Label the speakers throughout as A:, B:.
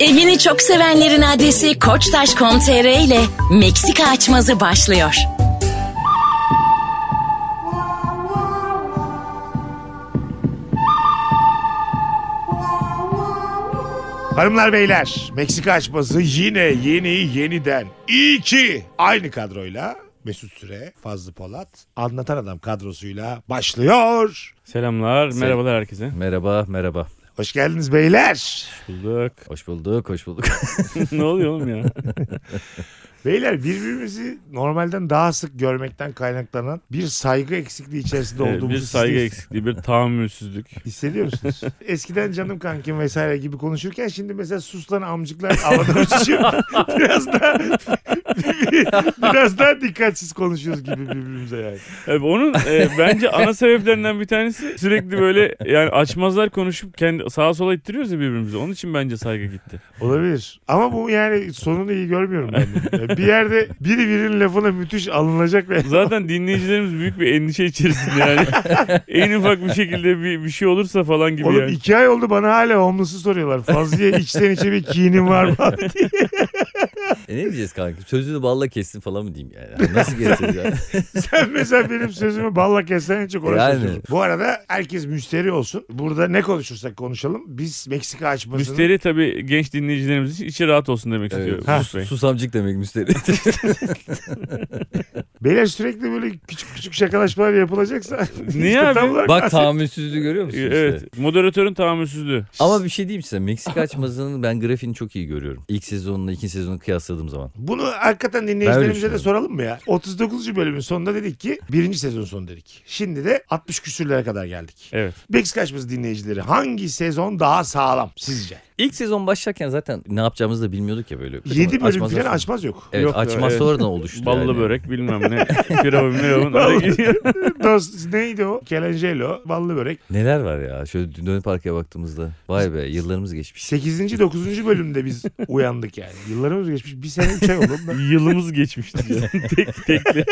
A: Evini çok sevenlerin adresi koçtaş.com.tr ile Meksika açmazı başlıyor.
B: Hanımlar beyler Meksika açması yine yeni yeniden iyi ki aynı kadroyla Mesut Süre, Fazlı Polat, Anlatan Adam kadrosuyla başlıyor.
C: Selamlar, merhabalar herkese.
D: Merhaba, merhaba.
B: Hoş geldiniz beyler.
C: Bulduk.
D: Hoş bulduk, hoş bulduk.
C: ne oluyor oğlum ya?
B: Beyler birbirimizi normalden daha sık görmekten kaynaklanan bir saygı eksikliği içerisinde olduğumuzu
C: bir saygı
B: siz-
C: eksikliği, bir tahammülsüzlük.
B: Hissediyor musunuz? Eskiden canım kankim vesaire gibi konuşurken şimdi mesela suslan amcıklar havada uçuşuyor. biraz daha biraz daha dikkatsiz konuşuyoruz gibi birbirimize yani.
C: Evet, onun e, bence ana sebeplerinden bir tanesi sürekli böyle yani açmazlar konuşup kendi sağa sola ittiriyoruz ya birbirimizi. Onun için bence saygı gitti.
B: Olabilir. Ama bu yani sonunu iyi görmüyorum ben. de. Yani Bir yerde biri birinin lafına müthiş alınacak ve
C: Zaten dinleyicilerimiz büyük bir endişe içerisinde yani. en ufak bir şekilde bir, bir şey olursa falan gibi
B: Oğlum
C: yani.
B: iki ay oldu bana hala homeless'ı soruyorlar. Fazlı'ya içten içe bir kinin var mı?
D: e ne diyeceğiz kanka? Sözünü balla kessin falan mı diyeyim yani? Hani Nasıl keseceğiz yani?
B: Sen mesela benim sözümü balla kessen çok uğraşıyorsun.
D: Yani.
B: Bu arada herkes müşteri olsun. Burada ne konuşursak konuşalım. Biz Meksika açmasını...
C: Müşteri tabii genç dinleyicilerimiz için içi rahat olsun demek istiyor.
D: Evet,
C: Mesut Bey.
D: sus, susamcık demek müşteri.
B: Beyler sürekli böyle küçük küçük şakalaşmalar yapılacaksa...
C: Niye
B: işte
C: abi?
B: tam olarak-
D: Bak tahammülsüzlüğü görüyor musun işte?
C: Evet, moderatörün tahammülsüzlüğü.
D: Ama bir şey diyeyim size. Meksika açmazının ben grafiğini çok iyi görüyorum. İlk sezonla ikinci sezonu kıyasladığım zaman.
B: Bunu hakikaten
D: Ben öyle
B: dinleyicilerimize de
D: düşünüyorum.
B: soralım mı ya? 39. bölümün sonunda dedik ki birinci sezon sonu dedik. Şimdi de 60 küsürlere kadar geldik.
C: Evet.
B: Meksika açması dinleyicileri hangi sezon daha sağlam sizce?
D: İlk sezon başlarken zaten ne yapacağımızı da bilmiyorduk ya böyle.
B: 7 bölüm
D: Açmazdan
B: falan
D: sonra-
B: açmaz yok.
D: Evet
C: Yok,
D: açmaz
C: evet.
D: sonradan oluştu
C: Ballı
D: yani.
C: börek bilmem ne. Firavun miravun. Hadi gidiyor.
B: Dost neydi o? Kelangelo, ballı börek.
D: Neler var ya şöyle dönüp arkaya baktığımızda. Vay be yıllarımız geçmiş.
B: 8. 9. bölümde biz uyandık yani. Yıllarımız geçmiş. Bir sene 3 ay oldu.
C: Yılımız geçmişti. diyor. tek tekli.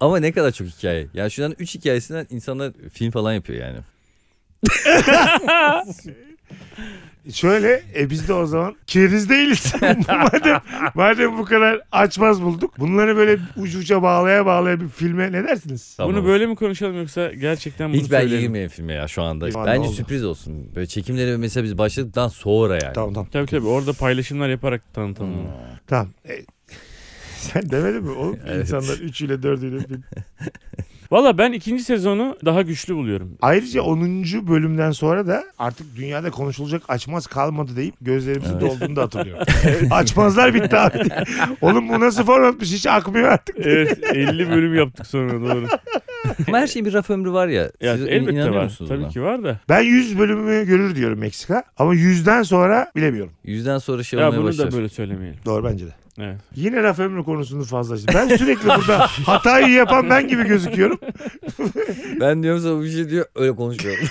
D: Ama ne kadar çok hikaye. Ya şundan 3 hikayesinden insanlar film falan yapıyor yani.
B: Şöyle e biz de o zaman keriz değiliz. madem, madem bu kadar açmaz bulduk. Bunları böyle ucu uca bağlaya bağlaya bir filme ne dersiniz?
D: Tamam.
C: Bunu böyle mi konuşalım yoksa gerçekten bunu
D: Hiç belge
C: söyleyelim?
D: girmeyen filme ya şu anda.
B: Şu anda
D: Bence
B: oldu.
D: sürpriz olsun. Böyle çekimlere mesela biz başladıktan sonra yani.
B: Tamam tamam.
C: Tabii tabii orada paylaşımlar yaparak
D: Hmm.
C: tanıtalım. onu.
B: Tamam. E, sen demedin mi oğlum?
D: Evet.
B: İnsanlar üçüyle dördüyle bir.
C: Valla ben ikinci sezonu daha güçlü buluyorum.
B: Ayrıca 10. bölümden sonra da artık dünyada konuşulacak açmaz kalmadı deyip gözlerimizin dolduğunu da hatırlıyorum. Açmazlar bitti abi. oğlum bu nasıl formatmış hiç akmıyor artık.
C: Evet 50 bölüm yaptık sonra doğru.
D: Ama her şeyin bir raf ömrü var ya.
C: Ya,
D: Siz in-
C: elbette
D: inanıyor
C: var.
D: musunuz
C: Tabii
D: buna?
C: ki var da.
B: Ben 100 bölümü görür diyorum Meksika ama 100'den sonra bilemiyorum.
D: Yüzden sonra şey
C: Ya
D: olmaya
C: bunu
D: başlar.
C: da böyle söylemeyelim.
B: Doğru bence de.
C: Evet.
B: Yine raf ömrü konusunu fazlalaştı. Ben sürekli burada hatayı yapan ben gibi gözüküyorum.
D: Ben diyorum sana bir şey diyor öyle konuşuyorum.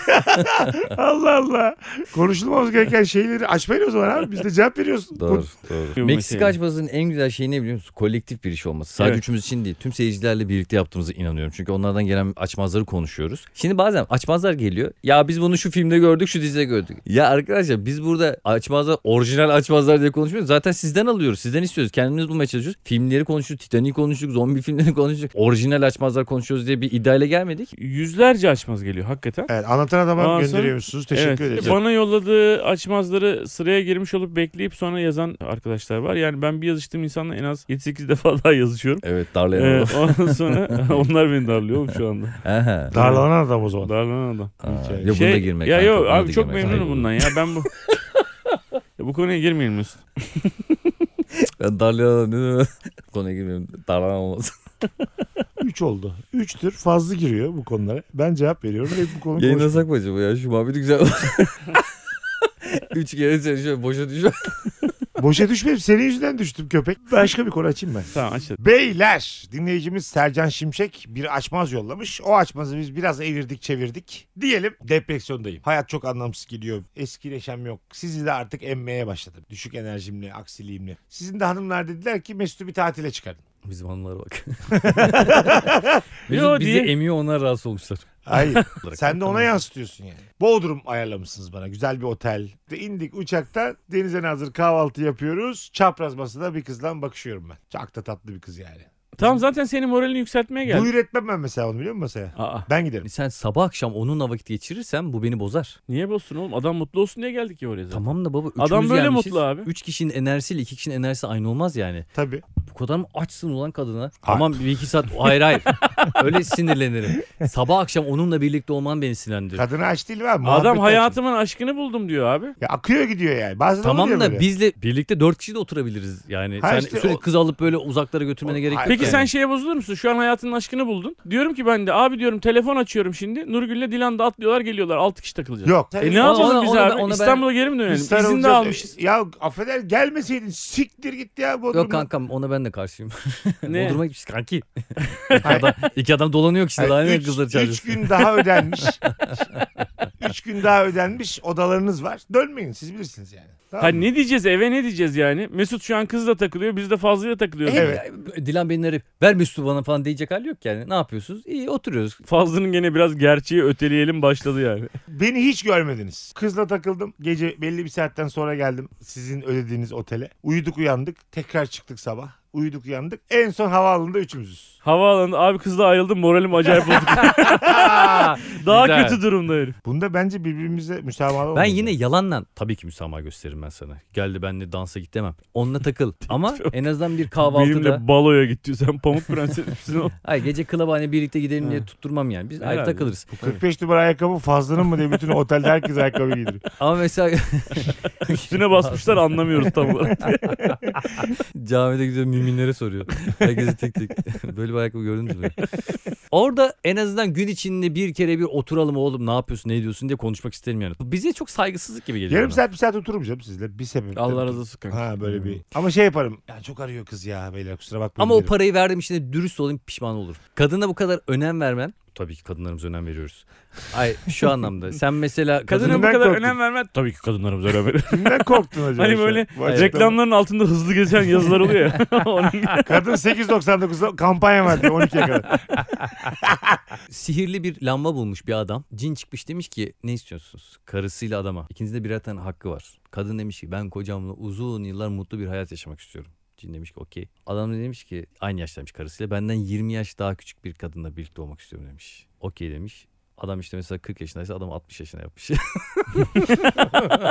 B: Allah Allah. Konuşulmamız gereken şeyleri açmayın o zaman abi. Biz de cevap veriyoruz.
D: doğru doğru. Meksika açmasının en güzel şeyi ne biliyor musun? Kolektif bir iş olması. Sadece
C: Evet.
D: üçümüz için değil. Tüm seyircilerle birlikte yaptığımıza inanıyorum. Çünkü onlardan gelen açmazları konuşuyoruz. Şimdi bazen açmazlar geliyor. Ya biz bunu şu filmde gördük şu dizide gördük. Ya arkadaşlar biz burada açmazlar orijinal açmazlar diye konuşmuyoruz. Zaten sizden alıyoruz. Sizden istiyoruz. Kendimiz bulmaya çalışıyoruz. Filmleri konuştuk. Titanic konuştuk. Zombi filmleri konuştuk. Orijinal açmazlar konuşuyoruz diye bir iddiayla gelmedik.
C: Yüzlerce açmaz geliyor hakikaten.
B: Evet, anlatan adama
C: Aa,
B: gönderiyormuşsunuz. Teşekkür
C: Evet.
B: ederim.
C: Bana yolladığı açmazları sıraya girmiş olup bekleyip sonra yazan arkadaşlar var. Yani ben bir yazıştığım insanla en az 7-8 defa daha yazışıyorum.
D: Evet darlayan
C: Ee,
D: adam.
C: ondan sonra onlar beni darlıyor oğlum şu anda.
D: Aha.
B: Darlanan adam o zaman.
C: Darlanan adam.
D: Aa,
B: Şey-
D: ya bunda girmek.
C: Ya
D: kanka,
C: yok
D: buna da
C: abi çok
D: girmek.
C: memnunum
D: Hayır,
C: bundan ya. Ben bu Ya bu konuya girmeyelim Mesut.
D: Ben darlayan değil mi? Konuya girmiyorum. Darlayan olmaz.
B: 3 oldu. 3'tür. Fazla giriyor bu konulara. Ben cevap veriyorum ve bu konu konuşmuyor.
D: Yayınlasak mı acaba ya? Şu muhabbeti güzel Üç kere çalışıyor. Boşa düşüyor.
B: Boşa düşmeyeyim. Senin yüzünden düştüm köpek. Başka bir konu açayım ben.
C: Tamam aç. hadi.
B: Beyler dinleyicimiz Sercan Şimşek bir açmaz yollamış. O açmazı biz biraz evirdik çevirdik. Diyelim depresyondayım. Hayat çok anlamsız gidiyor. Eski neşem yok. Sizi de artık emmeye başladım. Düşük enerjimle, aksiliğimle. Sizin de hanımlar dediler ki Mesut'u bir tatile çıkarın.
D: Bizim hanımlara bak.
C: Yo
D: bizi, bizi
C: diye.
D: emiyor onlar rahatsız olmuşlar.
B: Hayır. Sen de ona yansıtıyorsun yani. Bodrum ayarlamışsınız bana. Güzel bir otel. De indik uçaktan denize hazır kahvaltı yapıyoruz. Çapraz masada bir kızla bakışıyorum ben. Çok da tatlı bir kız yani.
C: Tamam zaten senin moralini yükseltmeye geldim.
B: Buyur etmem ben mesela onu biliyor musun masaya?
C: Aa,
B: Ben giderim.
D: Sen sabah akşam onunla vakit geçirirsen bu beni bozar.
C: niye bozsun oğlum? Adam mutlu olsun diye geldik ya oraya zaten.
D: Tamam da baba üçümüz
C: Adam böyle
D: gelmişiz.
C: mutlu abi.
D: Üç kişinin enerjisiyle iki kişinin enerjisi aynı olmaz yani.
B: Tabii.
D: Bu kadar mı açsın ulan kadına? Tamam bir iki saat. Hayır hayır. Öyle sinirlenirim. Sabah akşam onunla birlikte olman beni sinirlendiriyor.
B: Kadına aç değil ben.
C: Adam hayatımın aşkını buldum diyor abi.
B: Ya akıyor gidiyor yani. Bazen
D: Tamam
B: oluyor
D: da
B: böyle.
D: bizle birlikte dört kişi de oturabiliriz. Yani
B: Ha
D: sen
B: işte
D: sürekli
B: o-
D: kız alıp böyle uzaklara götürmene
B: O-
D: gerek yok.
B: Hayır.
C: Peki
D: yani.
C: sen şeye bozulur musun? Şu an hayatının aşkını buldun. Diyorum ki ben de abi diyorum telefon açıyorum şimdi. Nurgül'le Dilan da atlıyorlar geliyorlar. 6 kişi takılacağız.
B: Yok.
C: E ne
D: Ona-
C: yapalım
D: ona-
C: biz
D: ona
C: abi?
D: ben- ona ben-
C: İstanbul'a geri mi dönelim?
B: Biz sarılacağız.
C: İzin de almışız.
B: Ya affeder gelmeseydin siktir git ya Bodrum'a.
D: Yok kankam ona ben de karşıyım.
C: Ne?
D: Bodrum'a gitmiş kanki.
B: Hayır.
D: adam, iki adam dolanıyor işte. Daha
B: Yani
D: ne
B: üç-
D: kızları
B: Üç
D: çağırıyorsun?
B: gün daha ödenmiş. üç gün daha ödenmiş odalarınız var. Dönmeyin siz bilirsiniz yani. Tamam
C: Ha
D: Hani-
B: mı?
C: ne diyeceğiz eve ne diyeceğiz yani? Mesut şu an kızla takılıyor biz de Fazlı'yla takılıyoruz.
B: Evet.
D: Dilan beni arayıp ver Mesut'u bana falan diyecek hali yok yani. Ne yapıyorsunuz? İyi oturuyoruz.
C: Fazlı'nın gene biraz gerçeği öteleyelim başladı yani.
B: Beni hiç görmediniz. Kızla takıldım. Gece belli bir saatten sonra geldim sizin ödediğiniz otele. Uyuduk uyandık. Tekrar çıktık sabah. Uyuduk uyandık. En son havaalanında üçümüzüz.
C: Havaalanında abi kızla ayrıldım moralim acayip bozuk. Daha
D: Güzel.
C: kötü durumda herif.
B: Bunda bence birbirimize müsamaha olmadı.
D: Ben yine yalanla tabii ki müsamaha gösteririm ben sana. Geldi benle dansa git demem. Onunla takıl. Ama en azından bir kahvaltıda.
C: Benimle baloya gitti sen pamuk prenses misin oğlum?
D: Ay gece klaba hani birlikte gidelim diye tutturmam yani. Biz ayrı
C: Herhalde.
D: takılırız.
B: 45 numara ayakkabı fazlanın mı diye bütün otelde herkes ayakkabı giydiriyor.
D: Ama mesela
C: Üstüne
D: Şey
C: basmışlar anlamıyoruz tam olarak.
D: camide gidiyor müminlere soruyor. Herkese tek tek. Böyle bir ayakkabı gördünüz mü? Orada en azından gün içinde bir kere bir oturalım oğlum ne yapıyorsun ne ediyorsun diye konuşmak isterim yani. Bu Bize çok saygısızlık gibi geliyor.
B: Yarım
D: bana.
B: saat bir saat otururum canım sizle. Bir sebep.
C: Allah razı olsun kanka.
B: Ha böyle bir. Ama şey yaparım. Ya çok arıyor kız ya beyler kusura bakmayın.
D: Hmm. Ama o
B: derim.
D: parayı verdim işte dürüst olayım pişman olur. Kadına bu kadar önem vermen. Tabii ki kadınlarımıza önem veriyoruz. Ay şu anlamda sen mesela
C: Kadına bu
B: Kadından
C: kadar
B: korktum.
C: önem vermen tabii ki kadınlarımıza önem verir.
B: Kimden korktun acaba?
C: hani
B: şu an?
C: böyle
B: Bu açıklama.
C: reklamların altında hızlı geçen yazılar oluyor ya. Onun gibi.
B: Kadın 8.99'da kampanya verdi 12'ye kadar.
D: sihirli bir lamba bulmuş bir adam. Cin çıkmış demiş ki ne istiyorsunuz? Karısıyla adama. İkinizin de birer tane hakkı var. Kadın demiş ki ben kocamla uzun yıllar mutlu bir hayat yaşamak istiyorum. Cin demiş ki okey. Adam da demiş ki aynı yaştaymış karısıyla. Benden 20 yaş daha küçük bir kadınla birlikte olmak istiyorum demiş. Okey demiş. Adam işte mesela 40 yaşındaysa adam 60 yaşına yapmış.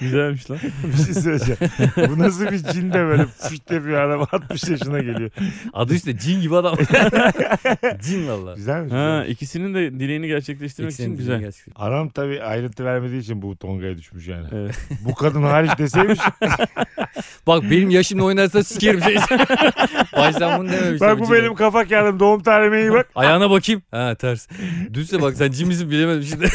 C: Güzelmiş lan.
B: bir şey söyleyeceğim. Bu nasıl bir cin de böyle fışt yapıyor adam 60 yaşına geliyor.
D: Adı işte cin gibi adam. cin valla.
B: Güzel mi?
C: Ha ikisinin de dileğini gerçekleştirmek için
D: İkisinin
C: güzel.
D: gerçekten.
B: Anam tabii ayrıntı vermediği için bu tongaya düşmüş yani.
C: Evet.
B: Bu kadın hariç deseymiş.
D: Bak benim yaşımla oynarsa sikerim şey. Baştan bunu dememiş.
B: bak
D: tabii
B: bu
D: cin.
B: benim kafa kağıdım doğum tarihime iyi bak.
D: Ayağına bakayım. Ha ters. Düzse bak sen cimizi bilemedim şimdi.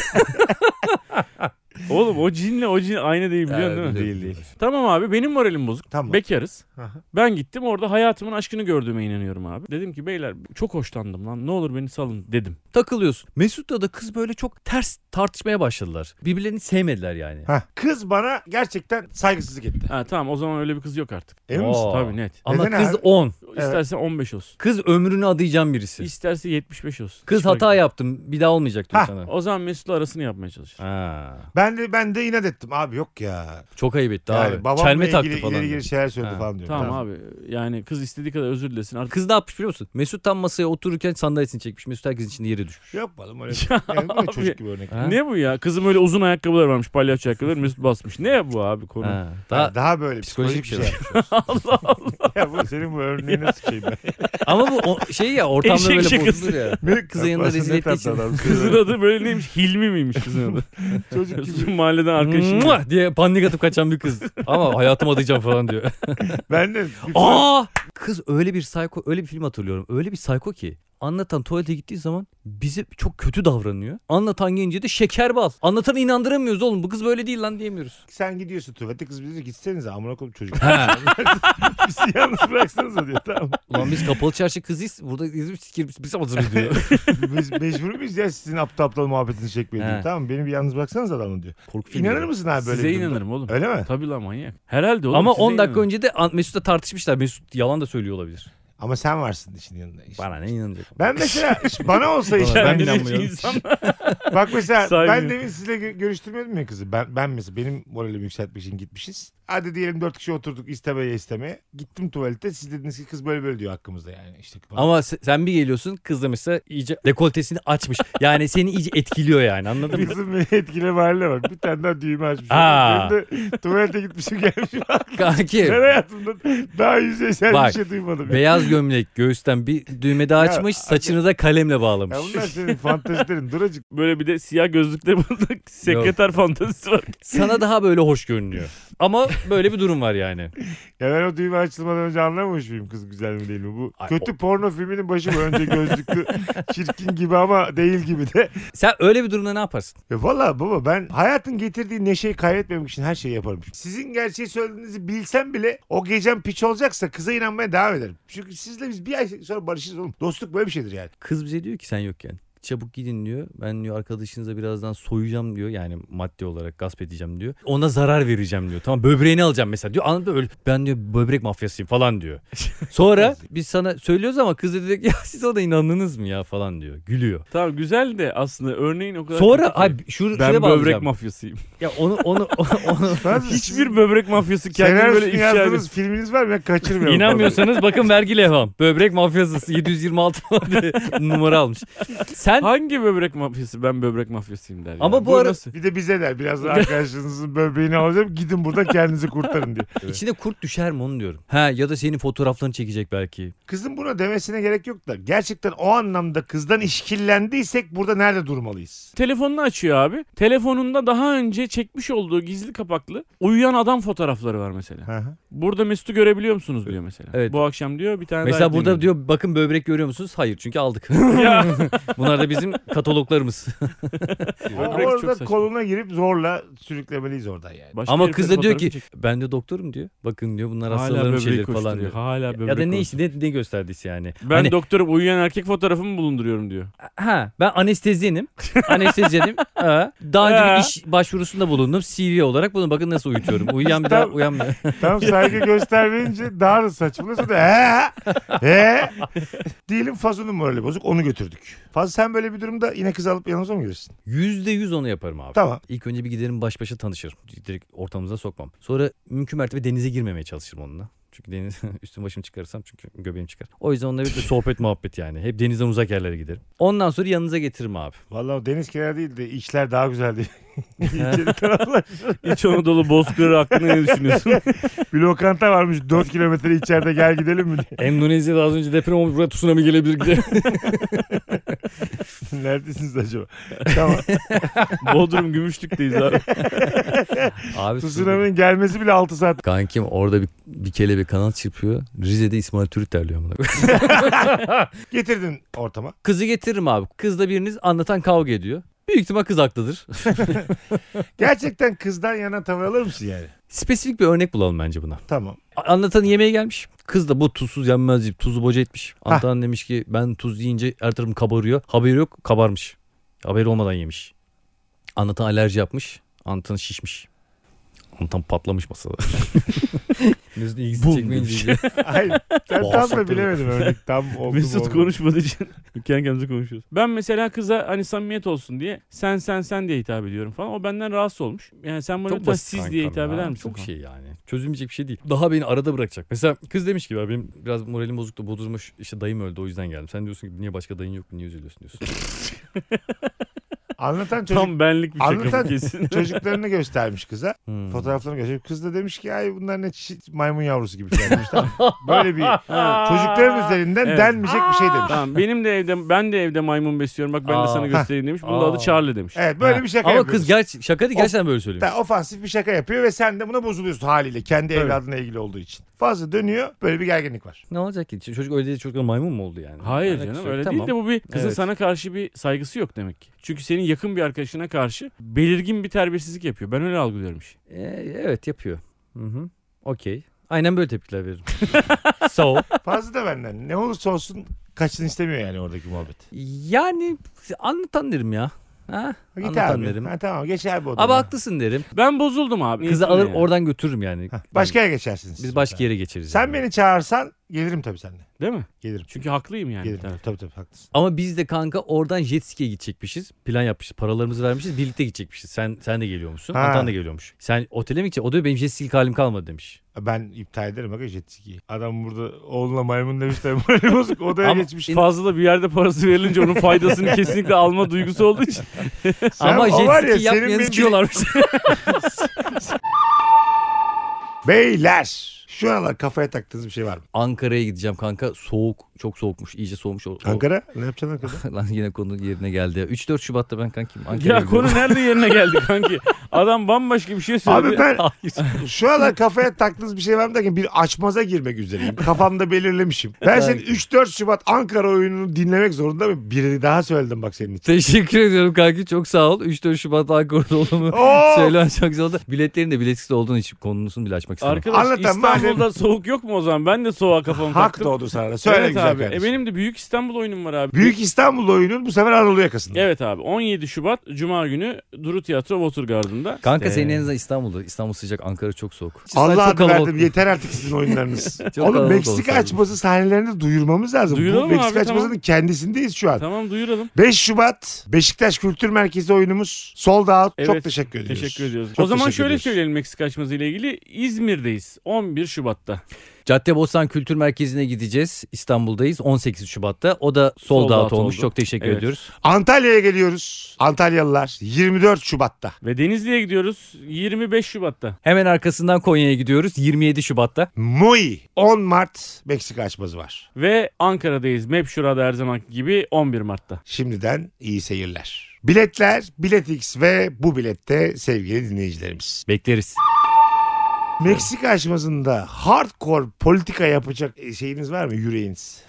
C: Oğlum o cinle o cin aynı değil biliyorsun değil
B: Değil,
C: mi?
B: değil.
C: Tamam abi benim moralim bozuk.
B: Tamam.
C: Bekarız.
B: Aha.
C: Ben gittim orada hayatımın aşkını gördüğüme inanıyorum abi. Dedim ki beyler çok hoşlandım lan ne olur beni salın dedim.
D: Takılıyorsun. Mesut'la da kız böyle çok ters tartışmaya başladılar. Birbirlerini sevmediler yani.
B: Hah. Kız bana gerçekten saygısızlık etti.
C: Ha tamam o zaman öyle bir kız yok artık.
B: Emin misin?
D: Oo.
C: Tabii net.
D: Ama
B: Neden
D: kız
B: abi?
D: 10.
C: İsterse 15 olsun.
D: Kız ömrünü adayacağım birisi.
C: İsterse 75 olsun.
D: Kız
C: Hiç fark
D: hata
C: etmez.
D: yaptım. Bir daha olmayacak diyor
B: Ha.
D: sana.
C: O zaman Mesut'la arasını yapmaya çalışır.
D: Ha.
B: Ben de ben de inat ettim abi yok ya.
D: Çok ayıp etti
B: Yani
D: abi.
B: babamla
D: Çelme
B: ilgili
D: taktı
B: ileri
D: falan.
B: geri şeyler söyledi
D: Ha.
B: falan diyor.
C: Tamam, abi yani kız istediği kadar özür dilesin artık.
D: Kız ne yapmış biliyor musun? Mesut tam masaya otururken sandalyesini çekmiş. Mesut herkesin içinde yere düşmüş.
B: Yok oğlum öyle.
C: Ya
B: Yani bu ne
C: abi.
B: çocuk gibi örnek.
D: Ha?
C: Ne bu ya? Kızım öyle uzun ayakkabılar varmış palyaço ayakkabılar Mesut basmış. Ne bu abi konu?
D: Ha. Daha,
B: Daha, daha böyle
D: psikolojik
B: psikolojik,
D: bir
B: bir şey. Allah Allah. ya bu senin bu örneği nasıl şey ben?
D: ama bu o- şey ya ortamda
C: Eşek
D: böyle
C: şakası.
D: bozulur ya. Kızın yanında
B: Aslında
D: rezil
B: ne
D: ettiği
B: tatlı
D: için.
B: adam.
C: Kızın adı böyle neymiş? Hilmi miymiş kızın adı?
B: Çocuk gibi.
C: Bizim mahalleden arkadaşım.
D: Mua diye panik atıp kaçan bir kız. Hmm. Ama hayatım adayacağım falan diyor.
B: Ben de
D: Aa! Kız öyle bir psycho, öyle bir film hatırlıyorum. Öyle bir psycho ki anlatan tuvalete gittiği zaman bize çok kötü davranıyor. Anlatan gelince de şeker bal. Anlatanı inandıramıyoruz oğlum. Bu kız böyle değil lan diyemiyoruz.
B: sen gidiyorsun tuvalete kız bize diyor gitsenize amına koyayım çocuk. Bizi yalnız bıraksanıza diyor tamam.
D: Ulan biz kapalı çarşı kızıyız. Burada izim sikir biz biz hazırız diyor.
B: Biz mecbur muyuz ya sizin aptal aptal muhabbetini çekmeye diyor.
D: He.
B: Tamam beni bir yalnız bıraksanız adamı diyor.
D: Korku filmi
B: İnanır
D: ya.
B: mısın abi böyle
C: Size
B: bir durumda?
C: inanırım oğlum.
B: Öyle mi?
C: Tabii lan manyak. Herhalde oğlum.
D: Ama
C: size
D: 10 dakika
C: inanırım.
D: önce de An- Mesut'la tartışmışlar. Mesut yalan da söylüyor olabilir.
B: Ama sen varsın işin yanında. işte.
D: Bana ne inanacak?
B: Ben mesela işte bana olsa işte.
D: Ben
C: Kendini
D: inanmıyorum.
C: insanlar-
B: Bak mesela
C: Saymıyor.
B: ben demin sizinle gö- görüştürmedim ya kızı. Ben, ben mesela benim moralimi yükseltmek için gitmişiz. Hadi diyelim dört kişi oturduk istemeye istemeye. Gittim tuvalete siz dediniz ki kız böyle böyle diyor hakkımızda yani. İşte bana-
D: Ama se- sen bir geliyorsun kız da mesela iyice dekoltesini açmış. Yani seni iyice etkiliyor yani anladın mı?
B: Kızın beni etkileme haline bak. Bir tane daha düğme açmışım. Ben
D: Aa.
B: de tuvalete gitmişim gelmişim.
D: Kanki
B: Ben hayatımda daha yüzeysel
D: Bak,
B: bir şey duymadım. ya.
D: beyaz gömlek göğüsten bir düğme daha açmış saçını da kalemle bağlamış.
B: Ya bunlar senin fantezilerin. Dur acık.
C: Böyle bir de siyah gözlükle burada sekreter fantezisi var.
D: Sana daha böyle hoş görünüyor. Ama böyle bir durum var yani.
B: Ya ben o düğme açılmadan önce anlamamış mıyım kız güzel mi değil mi? Bu
D: Ay,
B: kötü porno filminin başı bu. Önce gözlüklü çirkin gibi ama değil gibi de.
D: Sen öyle bir durumda ne yaparsın?
B: Ya valla baba ben hayatın getirdiği neşeyi kaybetmemek için her şeyi yaparım. Sizin gerçeği söylediğinizi bilsem bile o gecem piç olacaksa kıza inanmaya devam ederim. Çünkü sizle biz bir ay sonra barışırız oğlum. Dostluk böyle bir şeydir yani.
D: Kız bize diyor ki sen yokken. Çabuk gidin diyor. Ben diyor arkadaşınıza birazdan soyacağım diyor. Yani maddi olarak gasp edeceğim diyor. Ona zarar vereceğim diyor. Tamam böbreğini alacağım mesela diyor. Anladın mı? Öyle, ben diyor böbrek mafyasıyım falan diyor. Sonra biz sana söylüyoruz ama kız da diyor ki ya siz ona inandınız mı ya falan diyor. Gülüyor.
C: Tamam güzel de aslında örneğin o kadar
D: Sonra
C: kötü ki.
D: ay şur,
C: ben
D: şuraya
C: böbrek
D: bağlayacağım.
C: mafyasıyım.
D: ya onu onu onu
B: Nasıl?
C: Hiçbir böbrek mafyası kendini böyle
B: Senaryosunu
C: ifşa
B: yazdığınız
C: ediyor.
B: filminiz var mı? Ben kaçırmıyorum.
D: İnanmıyorsanız bakın vergi levham. Böbrek mafyası 726 diye numara almış. Sen
C: Hangi böbrek mafyası? Ben böbrek mafyasıyım der.
D: Ama
C: ya.
D: bu ara-
C: nasıl?
B: Bir de bize der. Biraz daha arkadaşınızın böbreğini alacağım. Gidin buradan kendinizi kurtarın diye.
D: içinde kurt düşer mi onu diyorum. Ha ya da senin fotoğraflarını çekecek belki.
B: Kızın buna demesine gerek yok da. Gerçekten o anlamda kızdan işkillendiysek burada nerede durmalıyız?
C: Telefonunu açıyor abi. Telefonunda daha önce çekmiş olduğu gizli kapaklı uyuyan adam fotoğrafları var mesela.
B: Hı hı.
C: Burada Mesut'u görebiliyor musunuz diyor mesela.
D: Evet.
C: Bu akşam diyor bir tane
D: Mesela
C: daha
D: burada
C: dinledim.
D: diyor bakın böbrek görüyor musunuz? Hayır çünkü aldık.
C: Ya.
D: Bunlar da bizim kataloglarımız.
C: Böbrek çok
B: orada
C: saçma.
B: koluna girip zorla sürüklemeliyiz oradan yani.
C: Başka
D: Ama
C: herifin
D: kız da diyor
C: fotoğrafı
D: ki
C: çek-
D: ben de doktorum diyor. Bakın diyor bunlar
C: hala
D: hastalarım şeyleri
C: böbrek
D: falan diyor.
C: koşturuyor. Hala böbrek
D: Ya da ne
C: koşturuyor.
D: işte ne, ne gösterdiyse yani.
C: Ben
D: Hani,
C: doktorum uyuyan erkek fotoğrafımı bulunduruyorum diyor.
D: ha ben anestezyenim. anestezyenim. Ha, daha
C: Ha.
D: önce bir iş başvurusunda bulundum. CV olarak bunu bakın nasıl uyutuyorum. Uyuyan bir daha
B: Tamam.
D: uyanmıyor.
B: Tam saygı göstermeyince daha da saçmalıyorsa da he he. Diyelim Fazlı'nın morali bozuk onu götürdük. Fazlı sen böyle bir durumda yine kız alıp yanımıza mı gelirsin?
D: %100 onu yaparım abi.
B: Tamam.
D: İlk önce bir giderim baş başa tanışırım. Direkt ortamımıza sokmam. Sonra mümkün mertebe denize girmemeye çalışırım onunla. Çünkü deniz üstüm başımı çıkarırsam çünkü göbeğim çıkar. O yüzden onunla bir de sohbet muhabbet yani. Hep denizden uzak yerlere giderim. Ondan sonra yanınıza getiririm abi.
B: Vallahi o deniz kenarı değil de içler daha güzel değil. İçeri taraflar.
C: İç Anadolu bozkırı hakkında ne düşünüyorsun?
B: bir lokanta varmış 4 kilometre içeride gel gidelim mi diye.
D: Endonezya'da az önce deprem olmuş. Buraya tsunami gelebilir giderim.
B: Neredesiniz acaba? tamam.
C: Bodrum Gümüşlük'teyiz abi.
D: abi tsunami.
B: Tsunami'nin gelmesi bile 6 saat.
D: Kankim orada bir, bir kelebek kanat çırpıyor. Rize'de İsmail Türk derliyor amına koyayım.
B: Getirdin ortama.
D: Kızı getiririm abi. Kızla biriniz anlatan kavga ediyor. Büyük ihtimal kız haklıdır.
B: Gerçekten kızdan yana tavır alır mısın yani?
D: Spesifik bir örnek bulalım bence buna.
B: Tamam.
D: Anlatan yemeğe gelmiş. Kız da bu tuzsuz yenmez deyip tuzu boca etmiş.
B: Hah.
D: Anlatan demiş ki ben tuz yiyince her tarafım kabarıyor. Haberi yok kabarmış. Haberi olmadan yemiş. Anlatan alerji yapmış. Anlatan şişmiş. Anlatan patlamış masada. Mesut ilgisi
C: Bum
D: çekmeyince
C: demiş.
D: yiyor.
B: Hayır. Sen tam da
D: Bağırsak
B: bilemedim örnek. Tam oldu mu
C: Mesut
B: olmadı.
C: konuşmadığı için kendi kendimize konuşuyoruz. Ben mesela kıza hani samimiyet olsun diye sen sen sen diye hitap ediyorum falan. O benden rahatsız olmuş. Yani sen bana
D: Çok
C: lütfen
D: basit
C: siz
D: kankam
C: diye hitap
D: ya.
C: eder misin?
D: Çok
C: falan.
D: şey yani. Çözülmeyecek bir şey değil. Daha beni arada bırakacak. Mesela kız demiş ki "Ya benim biraz moralim bozuktu. Bodurmuş. işte dayım öldü o yüzden geldim. Sen diyorsun ki niye başka dayın yok mu? Niye üzülüyorsun diyorsun.
B: Anlatan çocuk
C: Tam benlik bir şaka
B: Anlatan-
C: bu kesin.
B: çocuklarını göstermiş kıza.
D: Hmm.
B: Fotoğraflarını gösterip kız da demiş ki ay bunlar ne çi- maymun yavrusu gibi falan demiş. Tamam. Böyle bir çocukların üzerinden
C: Evet.
B: denmeyecek bir şey demiş.
C: Tamam benim de evde ben de evde maymun besliyorum. Bak ben
D: Aa.
C: de sana göstereyim demiş. Bunun da
D: Aa.
C: adı Charlie demiş.
B: Evet böyle
D: Ha.
B: bir şaka
D: Ama
B: yapıyor.
D: kız gerçi şaka değil gerçekten böyle söylüyor.
B: Da, ofansif bir şaka yapıyor ve sen de buna bozuluyorsun haliyle kendi
C: Tabii.
B: evladına ilgili olduğu için. Fazla dönüyor böyle bir gerginlik var.
D: Ne olacak ki? Ç- Çocuk öyle dedi çocuklar maymun mu oldu yani?
C: Hayır
B: Hani
D: Alakası
C: canım
D: yok.
C: öyle
D: Tamam.
C: değil de bu bir kızın
D: Evet.
C: sana karşı bir saygısı yok demek ki. Çünkü senin yakın bir arkadaşına karşı belirgin bir terbiyesizlik yapıyor. Ben öyle algılıyorum işi.
D: Ee, evet yapıyor. Hı hı. Okey. Aynen böyle tepkiler veririm. so.
B: Fazla da benden ne olursa olsun kaçsın istemiyor yani oradaki muhabbet.
D: Yani anlatan derim ya. Ha?
B: Ha, Git
D: Anlatan
B: abi.
D: derim.
B: Ha, tamam geçer bu odama.
D: Abi haklısın derim.
C: Ben bozuldum abi.
D: Kızı
C: Niyetine
D: alır
C: yani.
D: oradan götürürüm yani.
B: Başka yere geçersiniz.
D: Biz başka yere geçeriz.
B: Sen
D: yani.
B: beni çağırsan gelirim tabii seninle.
C: Değil mi?
B: Gelirim.
C: Çünkü haklıyım yani.
B: Gelirim.
C: Tabii.
B: Tabii tabii haklısın.
D: Ama biz de kanka oradan jet ski'ye gidecekmişiz. Plan yapmışız. Paralarımızı vermişiz. Birlikte gidecekmişiz. Sen sen de geliyormuşsun.
B: Ha.
D: Atan da geliyormuş. Sen otele mi gideceksin? O diyor benim jet ski'lik halim kalmadı demiş.
B: Ben iptal ederim aga jet ski'yi. Adam burada oğluna maymun demiş de morali bozuk odaya
C: Ama
B: geçmiş.
C: fazla da bir yerde parası verilince onun faydasını kesinlikle alma duygusu olduğu için.
B: Sen-
D: Ama
B: o var ya,
D: jet ski
B: senin
D: yapmayanı
B: bildiğin-
D: sikiyorlarmış.
B: Beyler şu aralar kafaya taktığınız bir şey var mı?
D: Ankara'ya gideceğim kanka. Soğuk. Çok soğukmuş. İyice soğumuş. O- o-
B: Ankara ne yapacaksın Ankara'da?
D: Lan yine konu yerine geldi ya. 3-4 Şubat'ta ben kankim Ankara'ya
C: ya konu
D: gidiyorum.
C: nerede yerine geldi kanki? Adam bambaşka bir şey söyledi.
B: Abi ben
D: Hayır.
B: şu aralar kafaya taktığınız bir şey var mı derken bir açmaza girmek üzereyim. Kafamda belirlemişim. Ben senin 3-4 Şubat Ankara oyununu dinlemek zorunda mıyım? Birini daha söyledim bak senin için.
D: Teşekkür ediyorum kanki. Çok sağ ol. 3-4 Şubat Ankara'da olduğumu
B: Oo!
D: söylemen çok güzel oldu. Biletlerin de biletsiz olduğun için konusunu bile açmak istemem.
C: Arkadaş
B: Anlatan
C: İstanbul'da
B: madem-
C: soğuk yok mu o zaman? Ben de soğuğa kafamı
B: Hak
C: taktım.
B: doğdu sana. da. Söyle
C: evet
B: güzel
C: abi.
B: kardeşim.
C: E benim de Büyük İstanbul oyunum var abi.
B: Büyük İstanbul oyunun bu sefer Anadolu yakasında.
C: Evet abi 17 Şubat Cuma günü Duru Tiyatro Watergarden'da.
D: Kanka
B: İşte.
D: senin en azından İstanbul'da. İstanbul sıcak, Ankara çok soğuk.
B: Allah
D: Çok
B: adı
D: kalabalık.
B: verdim yeter artık sizin oyunlarınız.
D: Çok
B: Oğlum
D: kalabalık
B: Meksika
D: oldu.
B: açması sahnelerini duyurmamız lazım.
C: Duyuralım
B: bu
C: abi,
B: Meksika açmasının
C: tamam.
B: kendisindeyiz şu an.
C: Tamam duyuralım.
B: 5 Şubat Beşiktaş Kültür Merkezi oyunumuz sold out.
C: Evet,
B: Çok teşekkür ediyoruz.
C: Teşekkür ediyoruz.
B: Çok
C: o zaman
B: teşekkür
C: şöyle
B: ediyoruz.
C: söyleyelim Meksika açması ile ilgili. İzmir'deyiz 11 Şubat'ta.
D: Caddebostan Kültür Merkezi'ne gideceğiz. İstanbul'dayız 18 Şubat'ta. O da sold,
C: Sold
D: out,
C: out
D: olmuş.
C: oldu.
D: Çok teşekkür
C: Evet.
D: ediyoruz.
B: Antalya'ya geliyoruz. Antalyalılar 24 Şubat'ta.
C: Ve Denizli'ye gidiyoruz 25 Şubat'ta.
D: Hemen arkasından Konya'ya gidiyoruz 27 Şubat'ta.
B: Muy 10 Mart Meksika açması var.
C: Ve Ankara'dayız. Map şurada her zamanki gibi 11 Mart'ta.
B: Şimdiden iyi seyirler. Biletler, Biletix ve bu bilette sevgili dinleyicilerimiz.
D: Bekleriz.
B: Meksika aşmasında hardcore politika yapacak şeyiniz var mı yüreğiniz?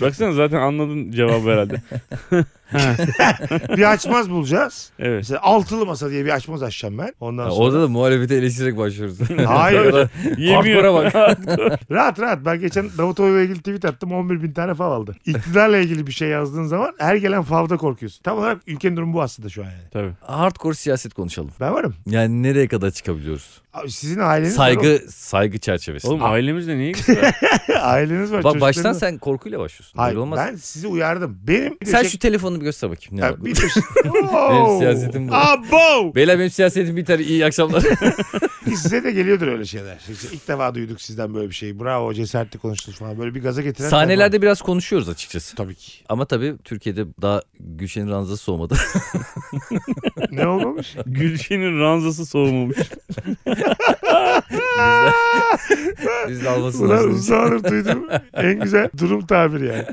C: Baksana zaten anladın cevabı herhalde.
B: Bir açmaz bulacağız.
C: Evet.
B: Mesela altılı masa diye bir açmaz açacağım ben. Ondan sonra.
D: Orada da muhalefete eleştirerek başlıyoruz.
B: Hayır.
D: Hardcore'a
C: Yemiyor.
D: bak.
B: rahat rahat. Ben geçen Davutoğlu'yla ilgili tweet attım. 11 bin tane fav aldı. İktidarla ilgili bir şey yazdığın zaman her gelen favda korkuyorsun. Tam olarak ülkenin durumu bu aslında şu an yani.
C: Tabii.
D: Hardcore siyaset konuşalım.
B: Ben varım.
D: Yani nereye kadar çıkabiliyoruz?
B: Abi Sizin aileniz var.
D: Saygı saygı çerçevesi.
C: Oğlum ailemizle niye ilgisi var?
B: Oğlum. Aileniz var.
D: Bak baştan
B: çocuklarınız var.
D: sen korkuyla başlıyorsun. Böyle
B: Hayır
D: olmaz.
B: ben sizi uyardım. Benim bir de
D: Sen
B: şey-
D: şu telefonu bir göster bakayım. Ne
B: Ya
D: var?
B: bir de şey-
D: Benim siyasetim bu.
B: Abo!
D: Beyler benim siyasetim biter. İyi akşamlar.
B: Size de geliyordur öyle şeyler. İşte ilk defa duyduk sizden böyle bir şeyi. Bravo cesaretli konuştunuz falan. Böyle bir gaza getiren.
D: Sahnelerde biraz konuşuyoruz açıkçası.
B: Tabii ki.
D: Ama tabii Türkiye'de daha Gülşen'in ranzası soğumadı.
B: Ne olmamış?
C: Gülşen'in ranzası soğumamış.
D: Biz de almasın
B: Ulan şey-
D: lazım.
B: uzun zamandır duydum. En güzel durum tabiri yani.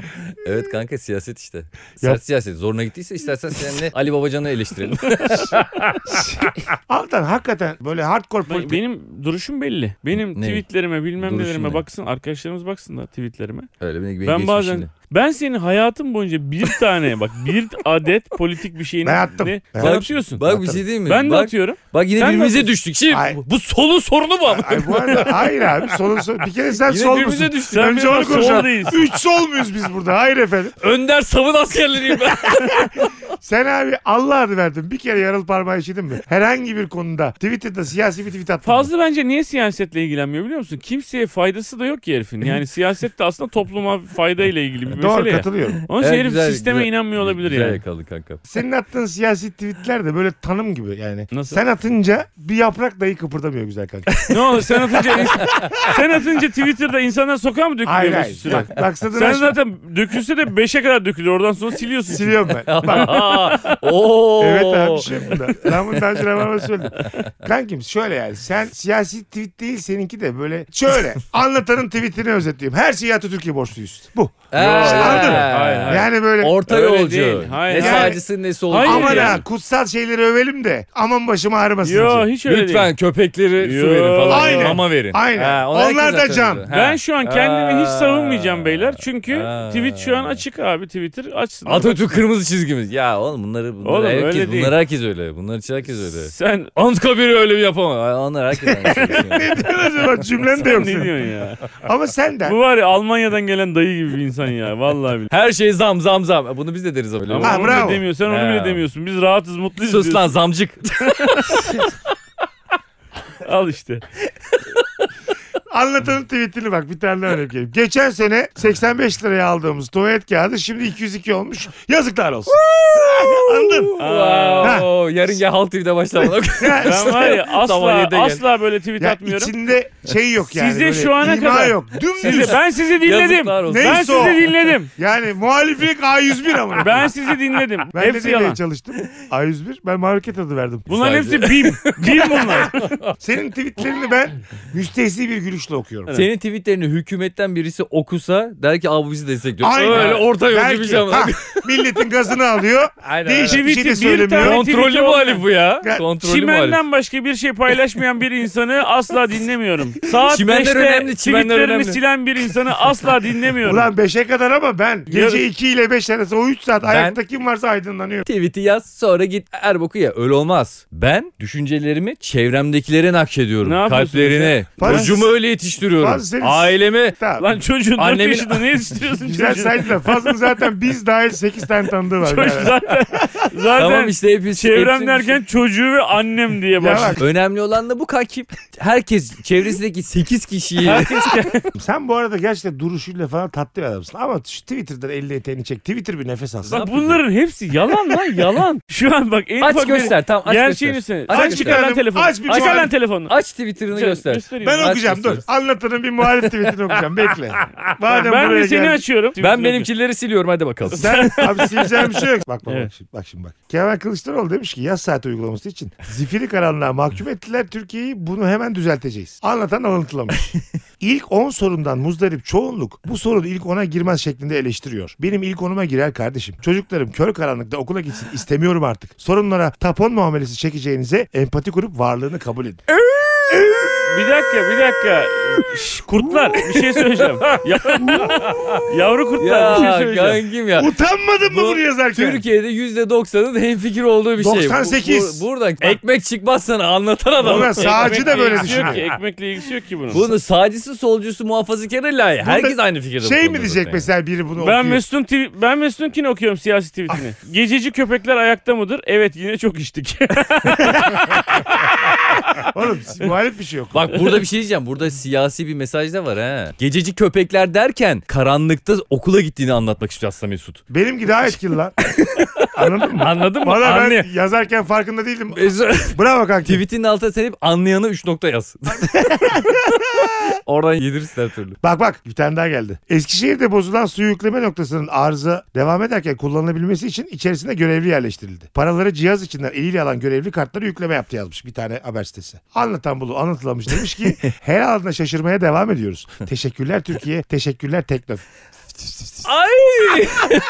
D: Evet kanka siyaset işte. Sert siyaset. Zoruna gittiyse istersen seninle Ali Babacan'ı eleştirelim.
B: Altan hakikaten böyle hardcore
C: Ben-
B: politik.
C: benim duruşum belli. Benim
D: Ne?
C: tweetlerime bilmem
D: Duruşun
C: nelerime
D: ne?
C: baksın. Arkadaşlarımız baksınlar tweetlerime.
D: Öyle beni, beni
C: ben
D: geçmiş
C: bazen
D: şimdi.
C: ben senin hayatın boyunca bir tane bak bir adet politik bir şeyini
B: Ben attım.
C: Ne,
B: Ben
C: sen
B: attım.
C: atıyorsun.
D: Bak bir şey diyeyim mi?
C: ben de
D: bak,
C: atıyorum.
D: Bak yine
C: Sen de
D: birbirimize
C: atıyorsun.
D: düştük. Şimdi
B: Ay.
D: bu solun sorunu mu ama?
B: Ay bu arada hayır abi solun sol. Bir kere sen
D: Yine
B: sol
D: birbirimize
B: musun?
C: düştük. Sen
B: Önce
C: benim
B: onu
C: sol
B: konuşalım.
C: değilsin.
B: Üç sol muyuz biz burada? Hayır efendim.
D: Önder savun askerleriyim ben.
B: Sen abi Allah adı verdin. Bir kere yaralı parmağı işledin mi? Herhangi bir konuda Twitter'da siyasi bir tweet attın. mı?
C: Fazla bence niye siyasetle ilgilenmiyor biliyor musun? Kimseye faydası da yok ki herifin. Yani siyaset de aslında topluma fayda ile ilgili bir
B: Doğru
C: mesele ya.
B: katılıyorum.
C: Onun için
D: Evet,
C: herif
D: güzel,
C: sisteme
D: güzel.
C: inanmıyor olabilir
D: Güzel
C: yani.
D: yakaladın kanka.
B: Senin attığın siyasi tweetler de böyle tanım gibi yani.
C: Nasıl?
B: Sen atınca bir yaprak dahi kıpırdamıyor güzel kanka.
C: ne olur sen atınca ins- sen atınca Twitter'da insanlar sokağa mı
B: hayır
C: dökülüyor Mesut
B: hayır.
C: Süre?
B: Bak, maksadını
C: Sen
B: aşma.
C: zaten dökülse de 5'e kadar dökülür. Oradan sonra siliyorsun.
B: Siliyorum ben. Bak,
D: Oo.
B: evet abi bir şey yok bunda. Ben bunu daha önce Rabarba'da söyledim. Kankim şöyle yani sen siyasi tweet değil seninki de böyle şöyle anlatanın tweetini özetliyorum. Her şeyi Atatürk'e borçluyuz. Bu.
D: Ee,
B: Anladın mı?
C: Hayır, hayır.
B: Yani böyle
D: Orta
C: Öyle
D: yolcu.
C: değil. Hayır,
D: ne
B: hayır.
D: sağcısı ne solcu.
C: Hayır
B: aman
C: yani.
B: ha kutsal şeyleri övelim de aman başıma ağrımasın.
C: Yo
B: diye.
C: hiç öyle
D: Lütfen
C: değil.
D: köpekleri
C: Yo.
D: su verin falan.
B: Aynen.
D: Mama verin.
B: Aynen.
D: ona
B: Onlar
D: herkes
B: da
D: hak
B: can.
D: veriyor. Ha.
C: Ben şu an kendimi hiç savunmayacağım beyler. Çünkü
D: Ha.
C: tweet şu an açık abi. Twitter açsın.
D: Atatürk kırmızı çizgimiz. Ya oğlum bunları, bunları
C: Oğlum,
D: herkes,
C: öyle değil.
D: bunları herkes öyle. Bunlar için herkes öyle.
C: Sen
D: Anıtkabir'i öyle bir yapamam. Ay, Onlar herkes aynı şey.
B: Ne diyorsun acaba? Cümlen de
C: ne
B: yok senin.
C: diyorsun ya?
B: Ama sen de.
C: Bu var ya Almanya'dan gelen dayı gibi bir insan ya. Vallahi billahi.
D: Her şey zam zam zam. Bunu biz de deriz ama.
C: Ama
B: Ha,
C: onu
B: bravo.
C: bile demiyor. Sen onu bile
D: Ha.
C: demiyorsun. Biz rahatız, mutluyuz
D: Sus
C: diyorsun.
D: lan zamcık.
C: Al işte.
B: Anlatanın tweetini bak bir tane daha örnek vereyim. Geçen sene 85 liraya aldığımız tuvalet kağıdı şimdi 202 olmuş. Yazıklar olsun. Anladın?
D: Wow. Yarın gel Halk TV'de başlamadan.
C: Ben var ya
D: Sabah
C: asla
D: yedide gel.
C: asla böyle tweet
B: Ya
C: atmıyorum.
B: içinde şey yok yani.
C: Size
B: böyle
C: şu ana
B: ima
C: kadar-
B: yok. Dümdüz.
C: Sizi- ben sizi dinledim.
D: Yazıklar olsun.
C: Ben
B: Neyse o.
C: sizi dinledim.
B: Yani muhaliflik A101 ama.
C: Ben sizi dinledim.
B: Ben de
C: hepsi
B: demeye
C: yalan.
B: çalıştım. A101 ben market adı verdim.
C: Bunların
D: Sadece-
C: hepsi bim. Bim bunlar.
B: Senin tweetlerini ben müstehsi bir gülüşle okuyorum.
D: Senin tweetlerini hükümetten birisi okusa der ki abi bizi destekliyor.
B: Aynen.
D: Öyle orta yolcu
B: Belki.
D: bir şey ama.
B: Ha, milletin gazını alıyor.
D: Aynen.
B: Değişik bir şey de
C: Tweet'i bir
B: söylemiyor.
C: tane-
D: Kontrollü
C: tweet'i
D: muhalif bu ya.
B: Ya,
D: Kontrollü muhalif.
C: Çimenden başka bir şey paylaşmayan bir insanı asla dinlemiyorum. Saat
D: Çimenler
C: 5'te
D: önemli, çimenler
C: tweetlerini
D: önemli.
C: silen bir insanı asla dinlemiyorum.
B: Ulan 5'e kadar ama ben gece
C: Yarın-
B: 2 ile 5 arası o 3 saat ayakta kim varsa aydınlanıyor.
D: Tweet'i yaz sonra git Erbok'u ya. Öyle olmaz. Ben düşüncelerimi çevremdekilere nakşediyorum.
C: Ne yapıyorsun
D: Kalplerine.
B: Fazla-
D: Çocuğumu öyle yetiştiriyorum.
B: Fazla senin-
D: Ailemi.
B: Tamam.
C: Lan çocuğun 4
D: Annemin-
C: yaşında ne istiyorsun
B: Güzel
C: çocuğun?
B: saydılar. Fazla zaten biz dahil 8 tane tanıdığı var.
C: Çocuk
B: beraber.
C: zaten zaten
D: Tamam işte hepsi.
C: çevrem
D: hepsi-
C: derken çocuğu ve annem diye
B: Ya
C: başlıyor.
B: bak,
D: Önemli olan da bu kankim. Herkes çevresindeki 8 kişiyi.
B: sen bu arada gerçekten duruşuyla falan tatlı bir adamsın. Ama şu Twitter'dan elini eteğini çek. Twitter bir nefes alsın.
C: Bak bunların hepsi yalan lan yalan. Şu an bak en
D: aç
C: ufak bir-
D: göster tamam aç
C: Gerçeğini
D: göster.
C: söyle.
D: Aç
C: Aç
D: göster.
C: çıkar lan
B: Efendim,
C: telefonu.
B: aç bir
C: Çıkar
B: tane-
C: lan telefonu.
D: Aç Twitter'ını göster.
B: Ben
D: Aç
B: okuyacağım dur.
D: göster.
B: Anlatanın bir muhalif tweetini okuyacağım. Bekle. Madem
C: Ben
B: buraya
C: de seni
B: geldin-
C: açıyorum.
D: Ben benimkileri siliyorum hadi bakalım.
B: Sen abi sileceğim bir şey yok. Bak bak, bak
C: Evet.
B: şimdi bak şimdi bak. Kemal Kılıçdaroğlu demiş ki yaz saati uygulaması için zifiri karanlığa mahkum ettiler Türkiye'yi bunu hemen düzelteceğiz. Anlatan alıntılamış. İlk 10 sorundan muzdarip çoğunluk bu sorun ilk 10'a girmez şeklinde eleştiriyor. Benim ilk 10'uma girer kardeşim. Çocuklarım kör karanlıkta okula gitsin istemiyorum artık. Sorunlara tapon muamelesi çekeceğinize empati kurup varlığını kabul edin.
C: Bir dakika bir dakika. Şş, kurtlar bir şey söyleyeceğim. Ya- Yavru kurtlar bir şey
D: ya
C: söyleyeceğim.
D: kankim ya.
B: Utanmadın mı
D: Bu
B: bunu yazarken?
D: Türkiye'de %90'ın hemfikir olduğu bir şey. Bu-
B: 98.
D: bu- buradan ekmek çıkmaz sana anlatan adam.
B: Ulan sağcı da
C: Ekmekle
B: böyle
C: ilgisi yok
B: düşünüyor.
C: ki, Ekmekle ilgisi yok ki bunun.
D: Bunu sağcısı solcusu muhafazakarı layı. Herkes aynı fikirde. bu
B: Şey mi
D: konuda
B: diyecek
D: zaten.
B: mesela biri bunu
C: ben
B: okuyor.
C: Mesut'un tw- ben Mesut'unkini okuyorum siyasi tweetini. Gececi köpekler ayakta mıdır? Evet yine çok içtik.
B: Oğlum muhalif bir şey yok.
D: Bak burada bir şey diyeceğim. Burada siyasi bir mesaj da var ha. Gececi köpekler derken karanlıkta okula gittiğini anlatmak istiyor aslında Mesut.
B: Benimki daha etkili lan. Anladın mı?
D: Anladın mı?
B: Valla
D: Anlıyor.
B: ben yazarken farkında değildim.
D: Mesut-
B: Bravo kanki.
D: Tweetinin altına sen hep anlayana 3 nokta yaz. Oradan yedirsin her türlü.
B: Bak bak bir tane daha geldi. Eskişehir'de bozulan su yükleme noktasının arıza devam ederken kullanılabilmesi için içerisine görevli yerleştirildi. Paraları cihaz içinden eliyle alan görevli kartları yükleme yaptı yazmış bir tane haber sitesi. Anlatan bunu anlatılamış demiş ki her alana şaşırmaya devam ediyoruz. Teşekkürler Türkiye, teşekkürler Tekno.
D: Ay!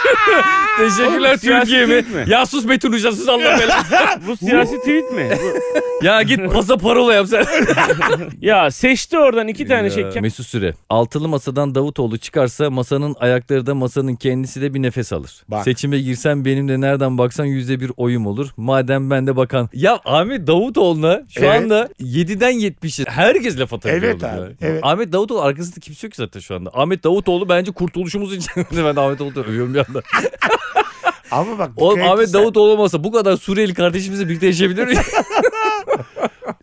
D: Teşekkürler
C: Oğlum, siyasi
D: Türkiye mi?
C: tweet mi?
D: Ya sus Betül Hoca sus Allah belanı.
C: Bu siyasi tweet mi? Bu-
D: ya git pasa parola yap sen.
C: ya seçti oradan iki tane şey.
D: Ya, Ee, Mesut Süre. Altılı masadan Davutoğlu çıkarsa masanın ayakları da masanın kendisi de bir nefes alır.
B: Bak.
D: Seçime girsem benim de nereden baksan yüzde bir oyum olur. Madem ben de bakan. Ya Ahmet Davutoğlu'na şu
B: Evet.
D: anda 7'den 70'e herkes laf atabiliyor.
B: Evet
D: oğlum ya.
B: abi, evet.
D: Ahmet Davutoğlu arkasında kimse yok ki zaten şu anda. Ahmet Davutoğlu bence kurtuluşumuz için. ben de Ahmet Davutoğlu övüyorum bir anda.
B: Ama bak
D: Oğlum
B: dikkat
D: Ahmet
B: etsen-
D: Davut olmasa bu kadar Suriyeli kardeşimizle birlikte yaşayabilir miyiz?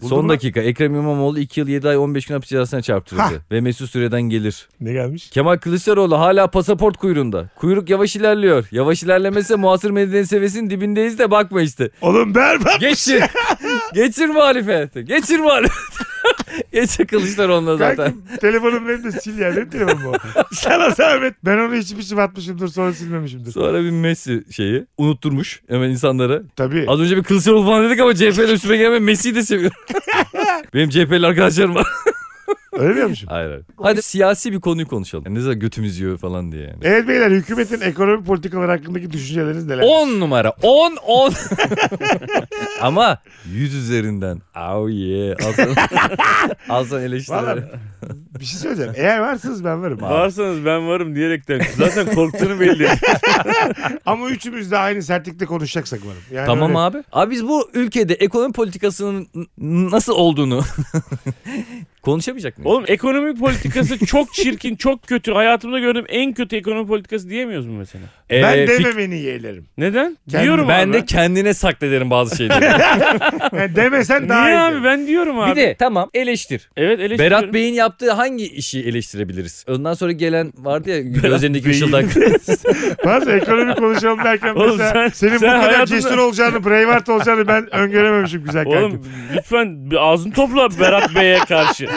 D: Son dakika Ekrem İmamoğlu 2 yıl 7 ay 15 gün hapis cezasına çarptırıldı.
B: Hah.
D: Ve Mesut Süre'den gelir.
B: Ne gelmiş?
D: Kemal Kılıçdaroğlu hala pasaport kuyruğunda. Kuyruk yavaş ilerliyor. Yavaş ilerlemese muasır medeniyet seviyesinin dibindeyiz de bakma işte.
B: Oğlum berbat.
D: Geçir. Geçir muhalefeti. Geçir muhalefeti. Geçir Kılıçdaroğlu'na zaten.
B: Kankim telefonum benim de sil ya. Benim telefonum o. Sana zahmet. Ben onu içip içip atmışımdır sonra silmemişimdir.
D: Sonra bir Messi şeyi unutturmuş hemen insanlara.
B: Tabii.
D: Az önce bir Kılıçdaroğlu falan dedik ama CHP'li üstüme gelme Messi'yi de seviyorum. Benim CHP'li arkadaşlarım var.
B: Öyle miyormuşum?
D: Hayır hayır. Hadi siyasi bir konuyu konuşalım. Yani ne zaman götümüz yiyor falan diye yani.
B: Evet beyler hükümetin ekonomi politikaları hakkındaki düşünceleriniz neler?
D: 10 numara. 10 10. Ama 100 üzerinden. Oh yeah. Alsan, alsan
B: Valla
D: eleştiri.
B: bir şey söyleyeceğim. Eğer varsınız ben varım.
C: Varsanız ben varım diyerekten. Zaten korktuğunu belli.
B: Ama üçümüz de aynı sertlikte konuşacaksak varım. Yani
D: Tamam
B: öyle-
D: abi. Abi biz bu ülkede ekonomi politikasının n- nasıl olduğunu Konuşamayacak mıyız?
C: Oğlum ekonomi politikası çok çirkin, çok kötü. Hayatımda gördüğüm en kötü ekonomi politikası diyemiyoruz mu mesela?
B: ben
D: Ee, fik-
B: dememeni yeğlerim.
C: Neden?
B: Kendi-
C: diyorum
D: ben
C: abi.
D: de kendine saklederim bazı şeyleri.
B: Yani demesen daha
C: Niye
B: iyi.
C: abi ben diyorum abi.
D: bir de tamam eleştir.
C: Evet eleştiriyorum.
D: Berat Bey'in yaptığı hangi işi eleştirebiliriz? Ondan sonra gelen vardı ya gözlerindeki
C: Bey'in-
D: ışıldak.
B: Bazı ekonomi konuşalım derken
C: Oğlum
B: mesela
C: sen-
B: senin bu
C: sen
B: kadar
C: hayatında-
B: cesur olacağını, Braveheart olacağını ben öngörememişim güzel kardeşim.
C: Oğlum lütfen bir ağzını topla Berat Bey'e karşı.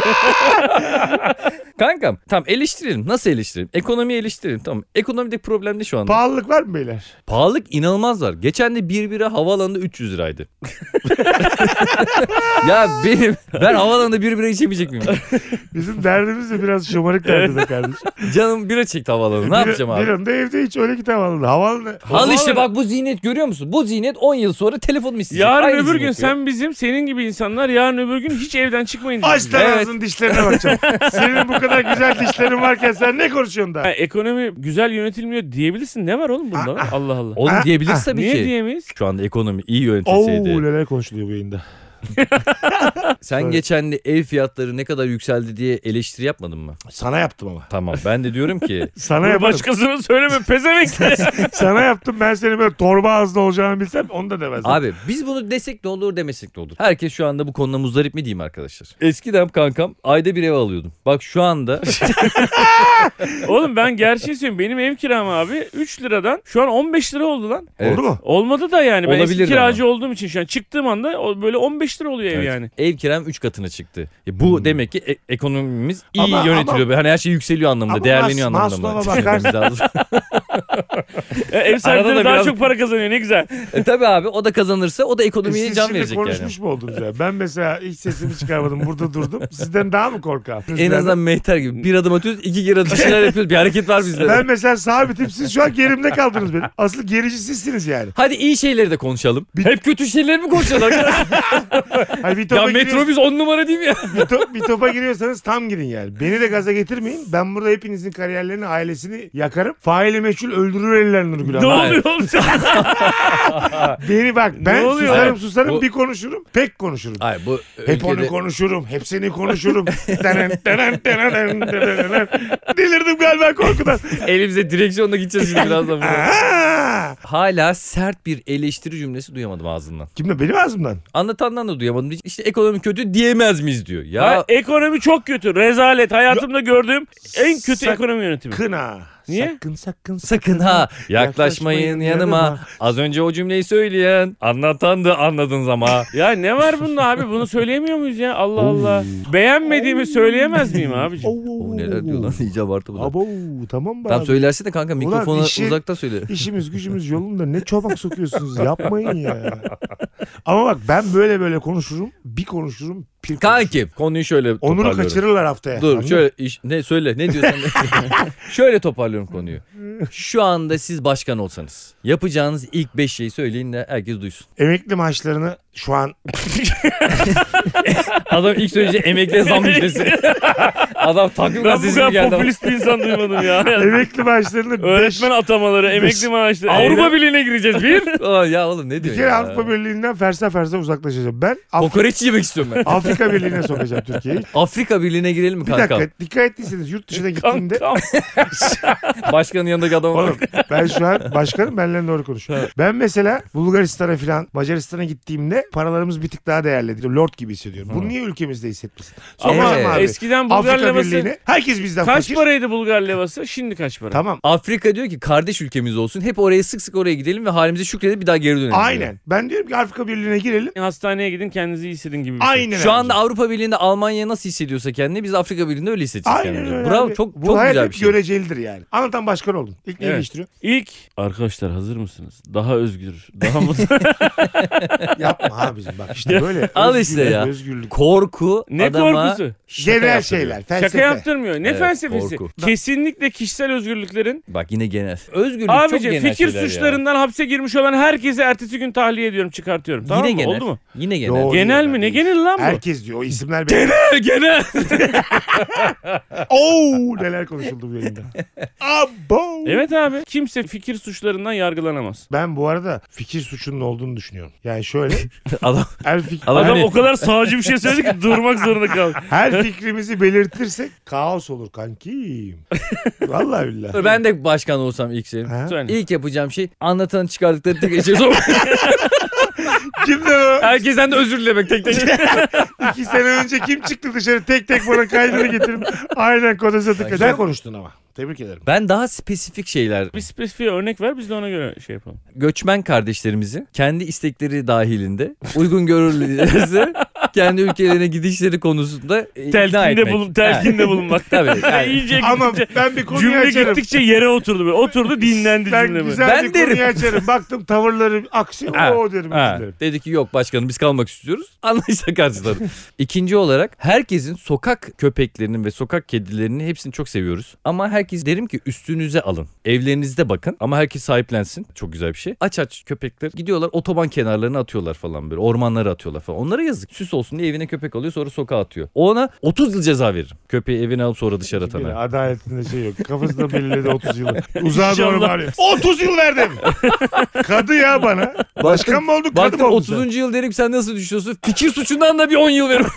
D: Kankam tamam eleştirelim. Nasıl eleştirelim? Ekonomiyi eleştirelim tamam. Ekonomideki problem ne şu anda?
B: Pahalılık var mı beyler?
D: Pahalılık inanılmaz var. Geçen de 1 bira havaalanında 300 liraydı. ya benim ben havaalanında 1 bira içemeyecek miyim?
B: Bizim derdimiz de biraz şımarık derdi be kardeşim.
D: Canım bira çekti havaalanı. Ne
B: Bir-
D: yapacağım abi?
B: Bir anda evde hiç öyle git havalı. Havalı.
D: Al işte bak bu zinet görüyor musun? Bu zinet 10 yıl sonra telefonum isteyecek.
C: Yarın
D: Aynı
C: öbür gün
D: zihniyet ya.
C: sen bizim senin gibi insanlar yarın öbür gün hiç evden çıkmayın.
B: Aç lan
D: Evet.
B: ağzının dişlerine bakacağım. Senin bu kadar güzel dişlerin varken sen ne konuşuyorsun
C: Ha,
B: da?
C: ekonomi güzel yönetilmiyor diyebilirsin. Ne var oğlum bunda? Allah Allah.
D: Oğlum diyebiliriz tabii
C: Niye
D: ki.
C: diyemeyiz?
D: Şu anda ekonomi iyi
B: Oo
D: yönetilseydi.
B: neler konuşuluyor bu yayında.
D: Sen geçen de ev fiyatları ne kadar yükseldi diye eleştiri yapmadın mı?
B: Sana yaptım ama.
D: Tamam ben de diyorum ki
B: Sana
C: Bunu
B: yaparım.
C: başkasına söyleme pezevenk.
B: Sana yaptım ben seni böyle torba ağızlı olacağını bilsem onu da demezdim.
D: abi biz bunu desek ne olur demesek ne olur. Herkes şu anda bu konuda muzdarip mi diyeyim arkadaşlar? Eskiden kankam ayda bir ev alıyordum. Bak şu anda
C: Oğlum ben gerçeği söyleyeyim. Benim ev kiram abi 3 liradan şu an 15 lira oldu lan.
D: Evet.
B: Oldu mu?
C: Olmadı da yani. Ben eski
D: Olabilirdi
C: kiracı olduğum için şu an çıktığım anda o- böyle 15 lira oluyor ev
D: Evet.
C: yani.
D: Ev kiram 3 katına çıktı. E bu demek ki e- ekonomimiz iyi
B: Hmm. Ama-
D: yönetiliyor. hani her şey yükseliyor anlamında,
B: Ama
D: değerleniyor
B: Mas-
D: anlamında. mı?
B: Maslow'a bakarsın.
D: Düşünmemiz lazım.
C: Ya E, ev sahipleri
D: da
C: daha
D: biraz-
C: çok para kazanıyor ne güzel.
D: e, tabii abi o da kazanırsa o da ekonomiye
B: Siz
D: can
B: şimdi
D: verecek yani.
B: konuşmuş mu oldunuz ya? Ben mesela hiç sesimi çıkarmadım. Burada durdum. Sizden daha mı korkar?
D: En azından mehter gibi bir adım atıyoruz, iki geri atıyoruz, bir şeyler yapıyoruz. Bir hareket var bizde.
B: Ben mesela sabitim. Siz şu an gerimde kaldınız benim. Asıl gerici sizsiniz yani.
D: Hadi iyi şeyleri de konuşalım.
B: Bir-
D: Hep kötü şeyleri mi konuşacağız arkadaşlar?
B: Hani bir topa,
D: ya
B: giriyorsanız,
D: metrobüs on numara değil mi ya?
B: bir, to- bir topa giriyorsanız tam girin yani. Beni de gaza getirmeyin. Ben burada hepinizin kariyerlerini, ailesini yakarım. Faili meçhul öldürür eller Nurgül
C: Ne
B: Hanım.
C: oluyor oğlum sen?
B: Beni bak ben
C: oluyor?
B: susarım
D: Hayır,
B: susarım
D: bu-
B: bir konuşurum. Pek konuşurum.
D: Hayır bu
B: Hep onu
D: ülkede-
B: konuşurum. Hepsini konuşurum. Denen, denen, denen, denen, denen. Delirdim galiba korkudan.
D: elimize direksiyonla gideceğiz şimdi birazdan. buraya.
B: Aa!
D: Hala sert bir eleştiri cümlesi duyamadım ağzından.
B: Kimden? Benim ağzımdan.
D: Anlatandan da duyamadım. İşte ekonomi kötü diyemez miyiz diyor. Ya
C: Ha, ekonomi çok kötü. Rezalet. Hayatımda gördüğüm en kötü
B: Sak-
C: ekonomi yönetimi.
B: Kına.
C: Niye?
B: Sakın sakın
D: Sakın ha
B: Yaklaşmayın
D: yaklaşmayın
B: yanıma.
D: yanıma. Az önce o cümleyi söyleyen anlatan da anladınız ama.
C: Ya ne var bunda abi? Bunu söyleyemiyor muyuz ya? Allah Allah. Beğenmediğimi söyleyemez miyim abicim?
B: Oo,
D: O neler diyor lan iyice abartı bu da.
B: Abo tamam be
D: Tam
B: abi. şey-
D: söylersin de kanka mikrofona
B: işi-
D: uzakta söyle.
B: İşimiz gücümüz yolunda ne çomak sokuyorsunuz yapmayın ya. Ama bak ben böyle böyle konuşurum bir konuşurum pir konuşurum.
D: Kanki konuyu şöyle
B: Onuru
D: toparlıyorum.
B: kaçırırlar haftaya.
D: Dur
B: Anladın mı?
D: şöyle iş- ne söyle ne diyorsan. de. şöyle toparlıyorum konuyu. Şu anda siz başkan olsanız yapacağınız ilk 5 şeyi söyleyin de herkes duysun.
B: Emekli maaşlarını şu an
D: Adam ilk söyleyeceği emekliye zam müjdesi. Adam takvim
C: Ben bu
D: gazetesi gibi
C: kadar
D: geldi. ama.
C: popülist bir insan duymadım ya.
B: emekli maaşlarını beş,
C: Öğretmen atamaları, emekli maaşları.
D: Aynen.
C: Avrupa Birliği'ne gireceğiz bir.
D: Aa, ya oğlum ne
B: bir
D: diyor
B: kere
D: ya?
B: Avrupa Birliği'nden fersa fersa uzaklaşacağım. Ben Af-
D: Kokoreç yemek istiyorum ben.
B: Afrika Birliği'ne sokacağım Türkiye'yi.
D: Afrika Birliği'ne girelim mi
B: Bir
D: kanka?
B: dakika dikkat ettiyseniz yurt dışına gittiğimde
C: Kankam.
D: Başkanın yanındaki adam
B: Oğlum ben şu an başkanım benimle doğru konuşuyor. Ben mesela Bulgaristan'a falan Macaristan'a gittiğimde paralarımız bir tık daha değerli. Lord gibi hissediyorum. Bunu niye ülkemizde hissetmesin? Ama
D: Evet.
B: abi.
C: Eskiden Bulgar
B: Afrika
C: levası
B: Birliği'ne herkes bizden
C: kaç
B: fakir.
C: paraydı Bulgar levası? Şimdi kaç para?
B: Tamam.
D: Afrika diyor ki kardeş ülkemiz olsun. Hep oraya sık sık oraya gidelim ve halimize şükredip bir daha geri dönelim. diyor.
B: Aynen. Ben diyorum ki Afrika Birliği'ne girelim.
C: Hastaneye gidin kendinizi iyi hissedin gibi bir şey.
B: Aynen.
D: Şu
B: abi.
D: anda Avrupa Birliği'nde Almanya nasıl hissediyorsa kendini biz Afrika Birliği'nde öyle hissedeceğiz
B: Aynen
D: kendimizi.
B: öyle
D: Bravo
B: abi.
D: çok
B: Bu
D: çok
B: hayat
D: güzel
B: hep
D: bir şey.
B: görecelidir yani. Anlatan başkan oldun. İlk neyi
C: Evet.
B: değiştiriyor?
C: İlk arkadaşlar hazır mısınız? Daha özgür, daha mutlu.
B: Yapma abicim bak işte böyle.
D: Al
B: özgürlük,
D: işte ya.
B: Özgürlük.
D: Korku
C: Ne
D: adama
C: korkusu?
D: şaka
B: Genel
D: yaptırıyor.
B: şeyler.
C: Şaka
B: Felsefe.
C: yaptırmıyor. Ne
D: Evet,
C: felsefesi?
D: korku.
C: Kesinlikle kişisel özgürlüklerin
D: Bak yine genel. Özgürlük çok
C: Abici
D: genel
C: fikir
D: şeyler ya.
C: suçlarından hapse girmiş olan herkesi ertesi gün tahliye ediyorum çıkartıyorum. Tamam
D: yine
C: mı?
D: genel.
C: Oldu mu?
D: Yine genel.
B: Doğru.
C: Genel mi?
B: yani.
C: Ne genel lan bu?
B: herkes diyor. O isimler benim.
D: Gene.
B: Oo Oh, neler konuşuldu bu yayında. Abo.
C: Evet abi kimse fikir suçlarından yargılanamaz.
B: Ben bu arada fikir suçunun olduğunu düşünüyorum. Yani şöyle
D: Adam,
B: her, fik-
D: adam
C: Adam
D: hani-
C: o kadar sağcı bir şey söyledi ki durmak zorunda kaldı.
B: her fikrimizi belirtirsek kaos olur kankim. Vallahi billahi.
D: ben de başkan olsam ilk şeyim.
B: Ha?
C: Söyle.
D: İlk yapacağım şey anlatanın çıkardıkları tek şey sonra
B: Kimdi o?
D: herkesten de özür dilemek tek tek.
B: İki sene önce kim çıktı dışarı tek tek bana kaydını getirin. Aynen kodası tık. Güzel konuştun ama. Tebrik ederim.
D: Ben daha spesifik şeyler
C: Bir spesifik örnek ver biz de ona göre şey yapalım.
D: göçmen kardeşlerimizi kendi istekleri dahilinde uygun görürlerse kendi ülkelerine gidişleri konusunda e, ikna
C: Telkinde,
D: etmek.
C: bulun, telkinde
D: Ha.
C: bulunmak.
D: Tabii. yani.
C: İyice
B: Ama
C: gittikçe-
B: ben bir konuyu
C: cümle
B: açarım.
C: gittikçe yere oturdu böyle. Oturdu dinlendi
B: ben
C: cümle böyle.
B: güzel
D: Ben
B: bir
D: derim.
B: konuyu açarım. Baktım tavırları aksi.
D: Ha,
B: o derim.
D: ha.
B: üzülürüm.
D: Dedi ki yok başkanım biz kalmak istiyoruz. Anlayışla karşıladı. İkinci olarak herkesin sokak köpeklerinin ve sokak kedilerinin hepsini çok seviyoruz. Ama herkes derim ki üstünüze alın. Evlerinizde bakın ama herkes sahiplensin. Çok güzel bir şey. Aç aç köpekler gidiyorlar otoban kenarlarına atıyorlar falan böyle. Ormanlara atıyorlar falan. Onlara yazık. Süs olsun diye evine köpek alıyor sonra sokağa atıyor. Ona 30 yıl ceza veririm. Köpeği evine alıp sonra dışarı
B: Bile
D: atana.
B: adaletinde şey yok. Kafasında belirledi 30 yılı. Uzağa doğru
C: İnşallah.
B: bağırıyor. 30 yıl verdim. Kadı ya bana. Başkan mı olduk kadı
D: Baktım
B: mı oldun sen?
D: 30. yıl derim sen nasıl düşünüyorsun? Fikir suçundan da bir 10 yıl veririm.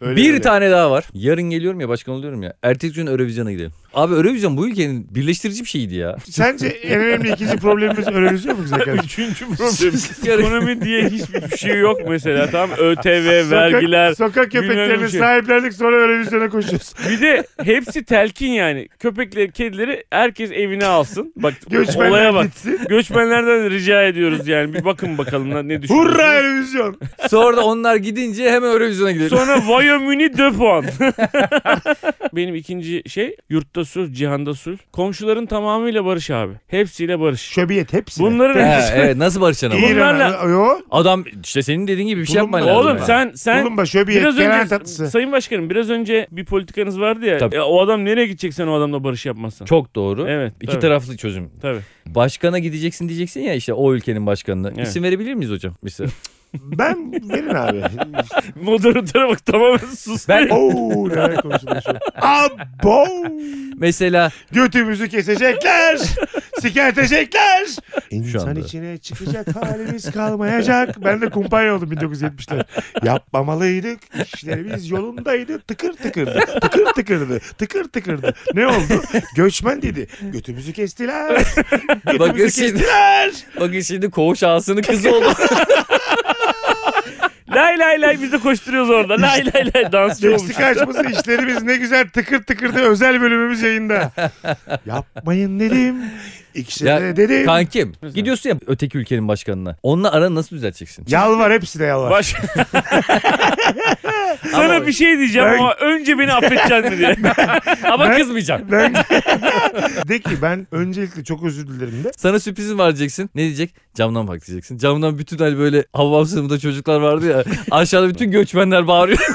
B: Öyle
D: bir
B: öyle.
D: tane daha var. Yarın geliyorum ya başkan oluyorum ya. Ertesi gün Eurovision'a gidelim. Abi Eurovision bu ülkenin birleştirici bir şeydi ya.
B: Sence en önemli ikinci problemimiz Eurovision mu güzel kardeşim?
C: Üçüncü problem. Ekonomi diye hiçbir şey yok mesela. Tam ÖTV, vergiler.
B: Sokak, sokak
C: bilmem
B: köpeklerini
C: bir şey.
B: sahiplendik sonra Eurovision'a koşuyoruz.
C: Bir de hepsi telkin yani. Köpekleri, kedileri herkes evine alsın. Bak
B: Göçmenler
C: olaya bak.
B: gitsin.
C: Göçmenlerden rica ediyoruz yani. Bir bakın bakalım lan ne düşünüyorsunuz.
B: Hurra Eurovision.
D: Sonra da onlar gidince hemen Eurovision'a gidelim.
C: Sonra Wyoming'i de puan. Benim ikinci şey yurtta sulh, cihanda sulh. Komşuların tamamıyla barış abi. Hepsiyle barış.
B: Şöbiyet hepsi.
C: Bunların
D: Ha,
C: hepsi.
D: evet nasıl barışan ama.
C: İyi. bunlarla-
B: İran. Yo.
D: Adam işte senin dediğin gibi bir şey
B: Bulunma-
D: yapman lazım.
C: Oğlum
D: yani.
C: sen sen
B: Bulunma şöbiyet.
C: biraz
B: Kenar
C: önce
B: tatlısı.
C: Sayın Başkanım biraz önce bir politikanız vardı ya.
D: Tabii.
C: Ya o adam nereye gidecek sen o adamla barış yapmazsan?
D: Çok doğru.
C: Evet.
D: İki
C: tabii,
D: taraflı çözüm.
C: Tabii.
D: Başkana gideceksin diyeceksin ya işte o ülkenin başkanına.
C: Evet.
D: İsim verebilir miyiz hocam? Mesela.
B: Ben verin abi.
C: Moderatöre bak tamamen sus.
D: Ben-
B: Oo neler konuşuluyor şu an. Abo.
D: Mesela
B: Götümüzü kesecekler. Sikertecekler. İnsan
D: anda.
B: içine çıkacak halimiz kalmayacak. Ben de kumpanya oldum 1970'ler. Yapmamalıydık. İşlerimiz yolundaydı. Tıkır tıkırdı. Tıkır tıkırdı. Tıkır tıkırdı. Ne oldu? Göçmen dedi. Götümüzü kestiler.
D: Bakın
B: Götümüzü
D: şimdi-
B: kestiler.
D: bakın şimdi koğuş ağasının kızı oldu.
C: lay lay lay biz de koşturuyoruz orada. Lay lay lay dansçı olmuş.
B: Meksika açması işlerimiz ne güzel tıkır tıkırdı özel bölümümüz yayında. Yapmayın dedim. İkisine
D: Ya,
B: de dedim.
D: Kankim gidiyorsun ya öteki ülkenin başkanına. Onunla aranı nasıl düzelteceksin?
B: Yalvar hepsine yalvar.
C: Baş... Sana
D: Ama-
C: bir şey diyeceğim
B: Ben-
C: ama önce beni affedeceksin mi diye.
D: Ama
B: Ben-
D: kızmayacağım.
B: Ben... de ki ben öncelikle çok özür dilerim de.
D: Sana sürprizim var diyeceksin. Ne diyecek? Camdan bak diyeceksin. Camdan bütün hani böyle hava sınıfında çocuklar vardı ya. Aşağıda bütün göçmenler bağırıyor.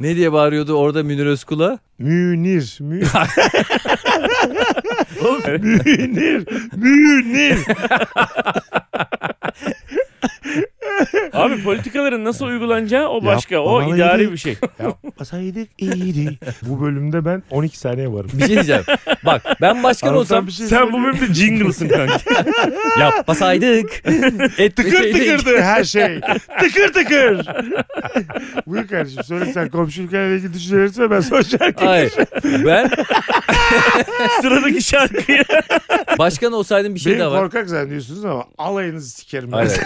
D: ne diye bağırıyordu orada Münir Özkul'a?
B: Münir. Mü... Oğlum, Münir. Münir.
C: Abi politikaların nasıl uygulanacağı o başka.
B: Yapmamalı
C: o idari
B: değil.
C: bir şey.
B: Yapmasaydık iyiydi. Bu bölümde ben 12 saniye varım.
D: Bir şey diyeceğim. bak ben başkan
B: Araptan
D: olsam
B: bir şey
C: Sen bu
B: söylüyor.
C: bölümde jingle'sın kanka.
D: yapmasaydık.
B: Tıkır
D: etmeseydik.
B: tıkırdı her şey. Tıkır tıkır. Buyur kardeşim söyle sen komşu ülkelerle ilgili düşüncelerini söyle ben son şarkıyı.
D: Hayır. Ben
C: Sıradaki şarkıyı.
D: başkan olsaydım bir şey
B: Beni
D: daha var.
B: korkak zannediyorsunuz ama alayınızı sikerim. ben.
D: Hayır.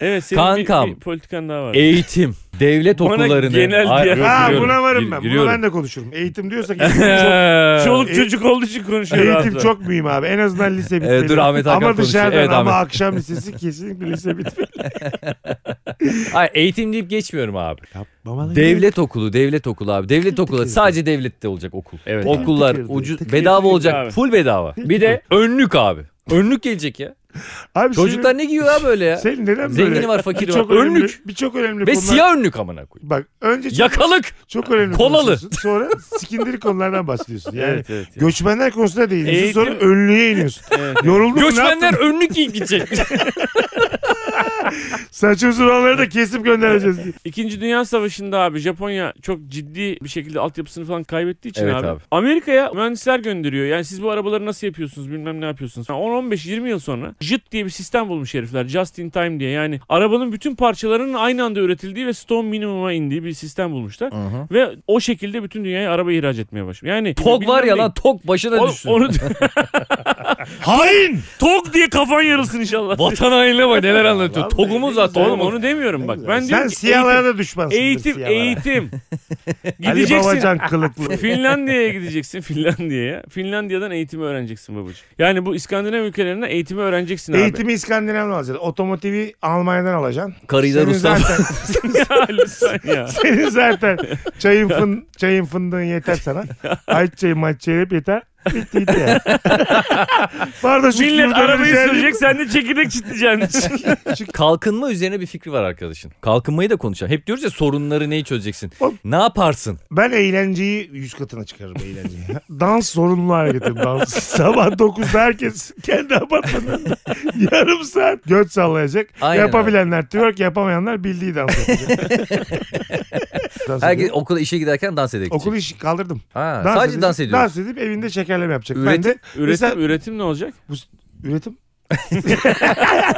C: Evet senin
D: Kankam.
C: Bir, bir politikan daha var.
D: Eğitim, devlet
C: Bana
D: okullarını.
C: genel
D: Hayır,
C: diye-
B: Ha
D: giriyorum,
B: buna varım
D: gir-
B: ben. Buna
D: giriyorum.
B: ben de konuşurum. Eğitim diyorsak eğitim çok,
C: Çoluk
B: e-
C: çocuk olduğu için konuşuyor.
B: eğitim
C: rahatlar.
B: çok mühim abi. En azından lise bitmeli.
D: dur Ahmet Hakan
B: Ama
D: konuşuyor.
B: dışarıdan
D: Evet,
B: ama
D: Ahmet.
B: akşam lisesi kesinlikle lise bitmeli.
D: Hayır, eğitim deyip geçmiyorum abi.
B: Yapmamalıyım.
D: Devlet okulu, devlet okulu abi. Devlet okulu
B: tıkır.
D: sadece devlette olacak okul.
C: Evet.
D: Okullar
B: Tıkır tıkır,
D: ucuz
B: tıkır
D: bedava
B: tıkır
D: olacak.
C: abi.
D: Full bedava. Bir de önlük abi. Önlük gelecek ya.
B: Abi
D: Çocuklar ne giyiyor abi öyle ya?
C: Şey
B: senin, senin neden böyle?
D: Zengini var, fakiri var.
B: Çok önemli.
D: Önlük
B: Birçok önemli
D: ve
B: konular.
D: siyah önlük amına koyayım.
B: Bak önce çok,
D: Yakalık.
B: çok önemli
D: Kolalı.
B: konuşuyorsun. Sonra sikindiri konulardan bahsediyorsun. Yani
C: Evet evet.
B: Göçmenler konusunda değiniyorsun
C: Eğitim-
B: sonra önlüğe iniyorsun.
C: evet.
B: Yoruldun mu ne yaptın?
D: Göçmenler önlük giyip gidecek.
B: Saç uzun olanları da kesip göndereceğiz. diye.
C: İkinci Dünya Savaşı'nda abi Japonya çok ciddi bir şekilde altyapısını falan kaybettiği için
D: Evet
C: abi,
D: abi.
C: Amerika'ya mühendisler gönderiyor. Yani siz bu arabaları nasıl yapıyorsunuz bilmem ne yapıyorsunuz. Yani 10-15-20 yıl sonra JIT diye bir sistem bulmuş herifler. Just in time diye yani arabanın bütün parçalarının aynı anda üretildiği ve stone minimuma indiği bir sistem bulmuşlar.
D: Hı-hı.
C: Ve o şekilde bütün dünyaya araba ihraç etmeye başlıyor. Yani
D: Tok var ya
C: bilmem
D: lan tok başına
C: ne- Oğlum
D: düşsün.
C: Onu,
B: Hain!
C: tok diye kafan yarılsın inşallah.
D: Vatan hainine bak neler anlatıyor.
B: Vallahi
D: Togumuz zaten.
C: Oğlum onu demiyorum bak. Ben
B: Sen
C: diyorum ki
B: siyahlara da düşmansın.
C: Eğitim, eğitim.
B: Ali
C: Gideceksin.
B: Babacan kılıklı.
C: Finlandiya'ya gideceksin Finlandiya'ya. Finlandiya'dan eğitimi öğreneceksin babacığım. Yani bu İskandinav ülkelerinden eğitimi öğreneceksin abi.
B: Eğitimi İskandinav'dan alacaksın. Otomotivi Almanya'dan alacaksın.
D: Karıyı da
B: Senin
D: Rus'tan.
B: zaten,
C: ya lütfen ya.
B: senin zaten çayın, fın, çayın fındığın yeter sana. Ay çayı maç çayı hep yeter. Bitti gitti yani. Pardon şu şey
C: Millet
B: küfürden
C: arabayı
B: rica edeyim.
C: sürecek sen de çekirdek çitleyeceksin.
D: Kalkınma üzerine bir fikri var arkadaşın. Kalkınmayı da konuşalım. Hep diyoruz ya sorunları neyi çözeceksin?
B: Oğlum.
D: Ne yaparsın?
B: Ben eğlenceyi yüz katına çıkarırım eğlenceyi. dans zorunlu hareketim dans. Sabah 9'da herkes kendi apartmanında yarım saat göt sallayacak.
D: Aynen
B: Yapabilenler twerk yapamayanlar bildiği dans yapacak. dans
D: Herkes
B: ediyor.
D: okula işe giderken dans edecek.
B: Okul işi kaldırdım.
D: Ha,
B: Dans
D: sadece
B: edip-
D: dans ediyoruz.
B: Dans edip evinde şekerleme yapacak. Ben
D: Üretim-
B: de
C: üretim,
B: Mesela-
C: üretim ne olacak?
B: üretim.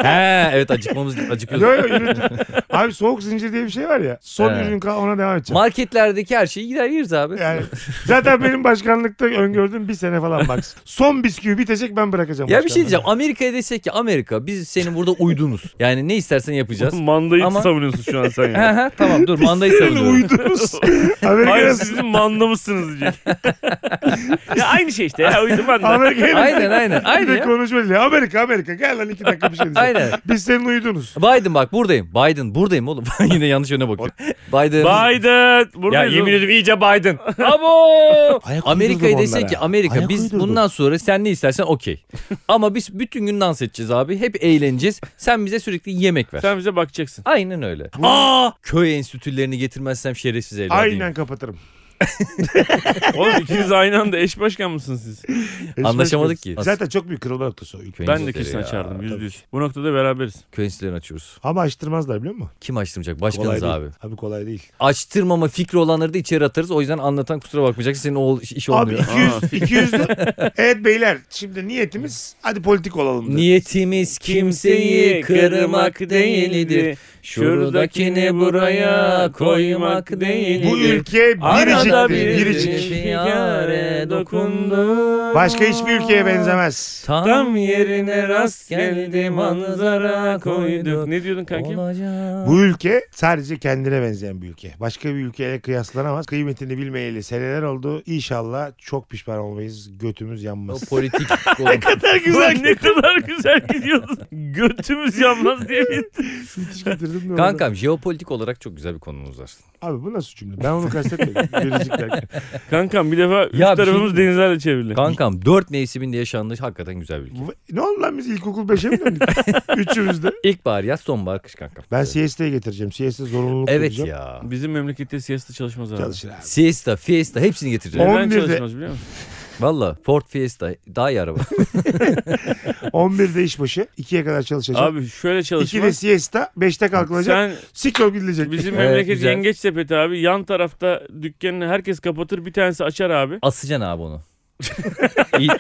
D: He, evet acıkmamız acıkıyoruz.
B: Yok yok üretim. Abi soğuk zincir diye bir şey var ya. Son
D: Evet.
B: ürün kal ona devam edeceğim.
D: Marketlerdeki her şeyi gider yeriz abi.
B: Yani zaten benim başkanlıkta öngördüğüm bir sene falan bak. Son bisküvi bitecek ben bırakacağım.
D: ya bir şey
B: başkanlığı.
D: diyeceğim. Amerika'ya desek ki Amerika biz senin burada uydunuz. Yani ne istersen yapacağız.
C: Mandayı
D: Ama-
C: savunuyorsun şu an sen
D: He
C: ya.
D: he tamam dur mandayı
B: Senin
D: savunuyorum.
B: uydunuz.
C: Hayır
B: Amerika'ya
C: sizin manda mısınız diyecek. ya aynı şey işte ya uydu manda.
B: Amerika'ya
D: Aynen aynen.
B: bir de
D: Aynen ya.
B: konuşma dili. Amerika Amerika gel lan iki dakika bir şey diyeceğim.
D: Aynen.
B: Biz senin uydunuz.
D: Biden bak buradayım. Biden buradayım oğlum. Yine yanlış yöne bakıyor. Biden.
C: Biden.
D: Ya
C: Buradayız
D: yemin
C: oğlum.
D: ediyorum iyice Biden. Abo.
B: Ayak
D: Amerika'ya
B: uydurdum
D: desen
B: onlara.
D: ki Amerika
B: Ayak
D: biz
B: uydurdum.
D: bundan sonra sen ne istersen okey. Ama biz bütün gün dans edeceğiz abi. Hep eğleneceğiz. Sen bize sürekli yemek ver.
C: Sen bize bakacaksın.
D: Aynen öyle. Aa! Köy enstitülerini getirmezsem şerefsiz evlat
B: Aynen kapatırım.
C: Oğlum ikiniz aynı anda eş başkan mısınız siz?
D: Anlaşamadık ki.
B: Zaten çok büyük kırılma noktası o ülke.
D: Köy
C: Ben de
D: enstitüleri
C: kesin
D: ya.
C: açardım yüzde
B: tabii
C: yüz. Bu noktada beraberiz.
D: Köy enstitülerini açıyoruz.
B: Ama açtırmazlar biliyor musun?
D: Kim açtırmayacak? Başkanız
B: kolay
D: abi.
B: Değil. Abi kolay değil.
D: Açtırmama fikri olanları da içeri atarız. O yüzden anlatan kusura bakmayacaksın. Senin o iş
B: Abi
D: olmuyor.
B: 200,
C: Aa,
B: 200 Evet beyler şimdi niyetimiz hadi politik olalım. Niye?
D: Niyetimiz kimseyi kırmak değildir. Şuradakini buraya koymak değildir.
B: Bu ülke
D: Arada
B: biriciktir.
D: bir
B: Biricik.
D: yare dokundu.
B: Başka hiçbir ülkeye benzemez.
D: Tam yerine rast geldi manzara koyduk.
C: Ne diyordun kankim?
D: Olacak.
B: Bu ülke sadece kendine benzeyen bir ülke. Başka bir ülkeyle kıyaslanamaz. Kıymetini bilmeyeli seneler oldu. İnşallah çok pişman olmayız. Götümüz
D: O
B: yanmaz.
D: politik oğlum.
B: kadar
C: Ulan ne kadar güzel gidiyordun. Götümüz yanmaz diye bir.
B: Müthiş getirdim de orada.
D: Kankam jeopolitik olarak çok güzel bir konumuz var.
B: Abi bu nasıl cümle? Ben onu kastetmedim. Biricik derken.
C: Kankam bir defa üst
D: bir şey
C: tarafımız denizlerle çevrili.
D: Kankam dört mevsiminde yaşandığı hakikaten güzel bir ülke.
B: Bu- Ne oldu lan biz ilkokul 5'e mi döndük? Üçümüz de.
D: İlkbahar yaz sonbahar kış kankam.
B: Ben şey siesta'ya getireceğim. Siesta zorunluluk
D: Evet
B: yapacağım.
D: ya.
C: Bizim memlekette siesta çalışmaz abi.
B: Çalışır abi.
D: Fiesta, Fiesta hepsini getireceğim.
B: On-
C: Neden
B: 11'de
C: E çalışmaz biliyor musun?
D: Valla Ford Fiesta daha iyi araba.
B: 11'de işbaşı. 2'ye kadar çalışacağım.
C: Abi şöyle
B: 2'de
C: çalışmaz.
B: siesta. 5'te kalkılacak.
C: Sen
B: Sikol gidilecek.
C: bizim
D: Evet,
C: memleket
D: güzel.
C: yengeç sepeti abi. Yan tarafta dükkanını herkes kapatır bir tanesi açar abi.
D: Asacaksın abi onu. İyi-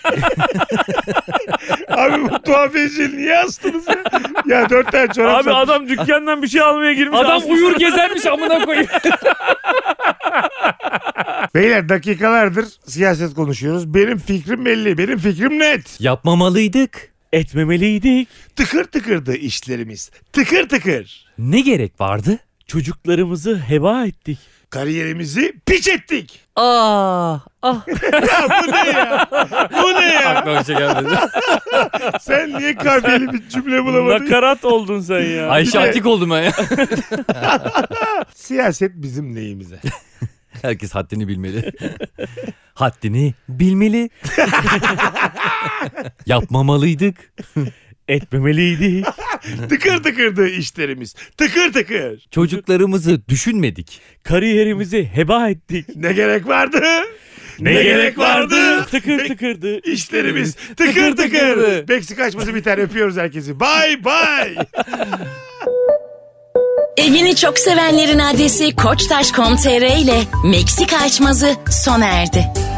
B: Abi bu tuhafiyeciyi niye astınız ya? Ya 4 tane çorap
C: Abi
B: sattım.
C: adam dükkandan bir şey almaya girmiş.
D: Adam
C: aslında-
D: uyur gezermiş amına koyayım.
B: Beyler dakikalardır siyaset konuşuyoruz. Benim fikrim belli. Benim fikrim net.
D: Yapmamalıydık.
B: E-
C: Etmemeliydik.
B: Tıkır tıkırdı işlerimiz. Tıkır tıkır.
D: Ne gerek vardı?
C: Çocuklarımızı heba ettik.
B: Kariyerimizi piç ettik.
D: Aa, ah.
B: Ya bu ne ya? Bu ne ya?
D: Aklıma bir şey gelmedi.
B: Sen niye kafiyeli bir cümle bulamadın?
C: Nakarat oldun sen ya.
D: Ayşe
B: Bir de-
D: Atik oldum ben ya.
B: Siyaset bizim neyimize?
D: Herkes haddini bilmeli. haddini bilmeli. Yapmamalıydık.
C: Etmemeliydik.
B: tıkır tıkırdı işlerimiz. Tıkır tıkır.
D: Çocuklarımızı düşünmedik.
C: Kariyerimizi heba ettik.
B: Ne gerek vardı? Ne,
C: Tıkır tıkırdı.
B: İşlerimiz tıkır tıkır. Meksika açması biter. Öpüyoruz herkesi. Bay bay.
A: Evini çok sevenlerin adresi koçtaş.com.tr ile Meksika açmazı sona erdi.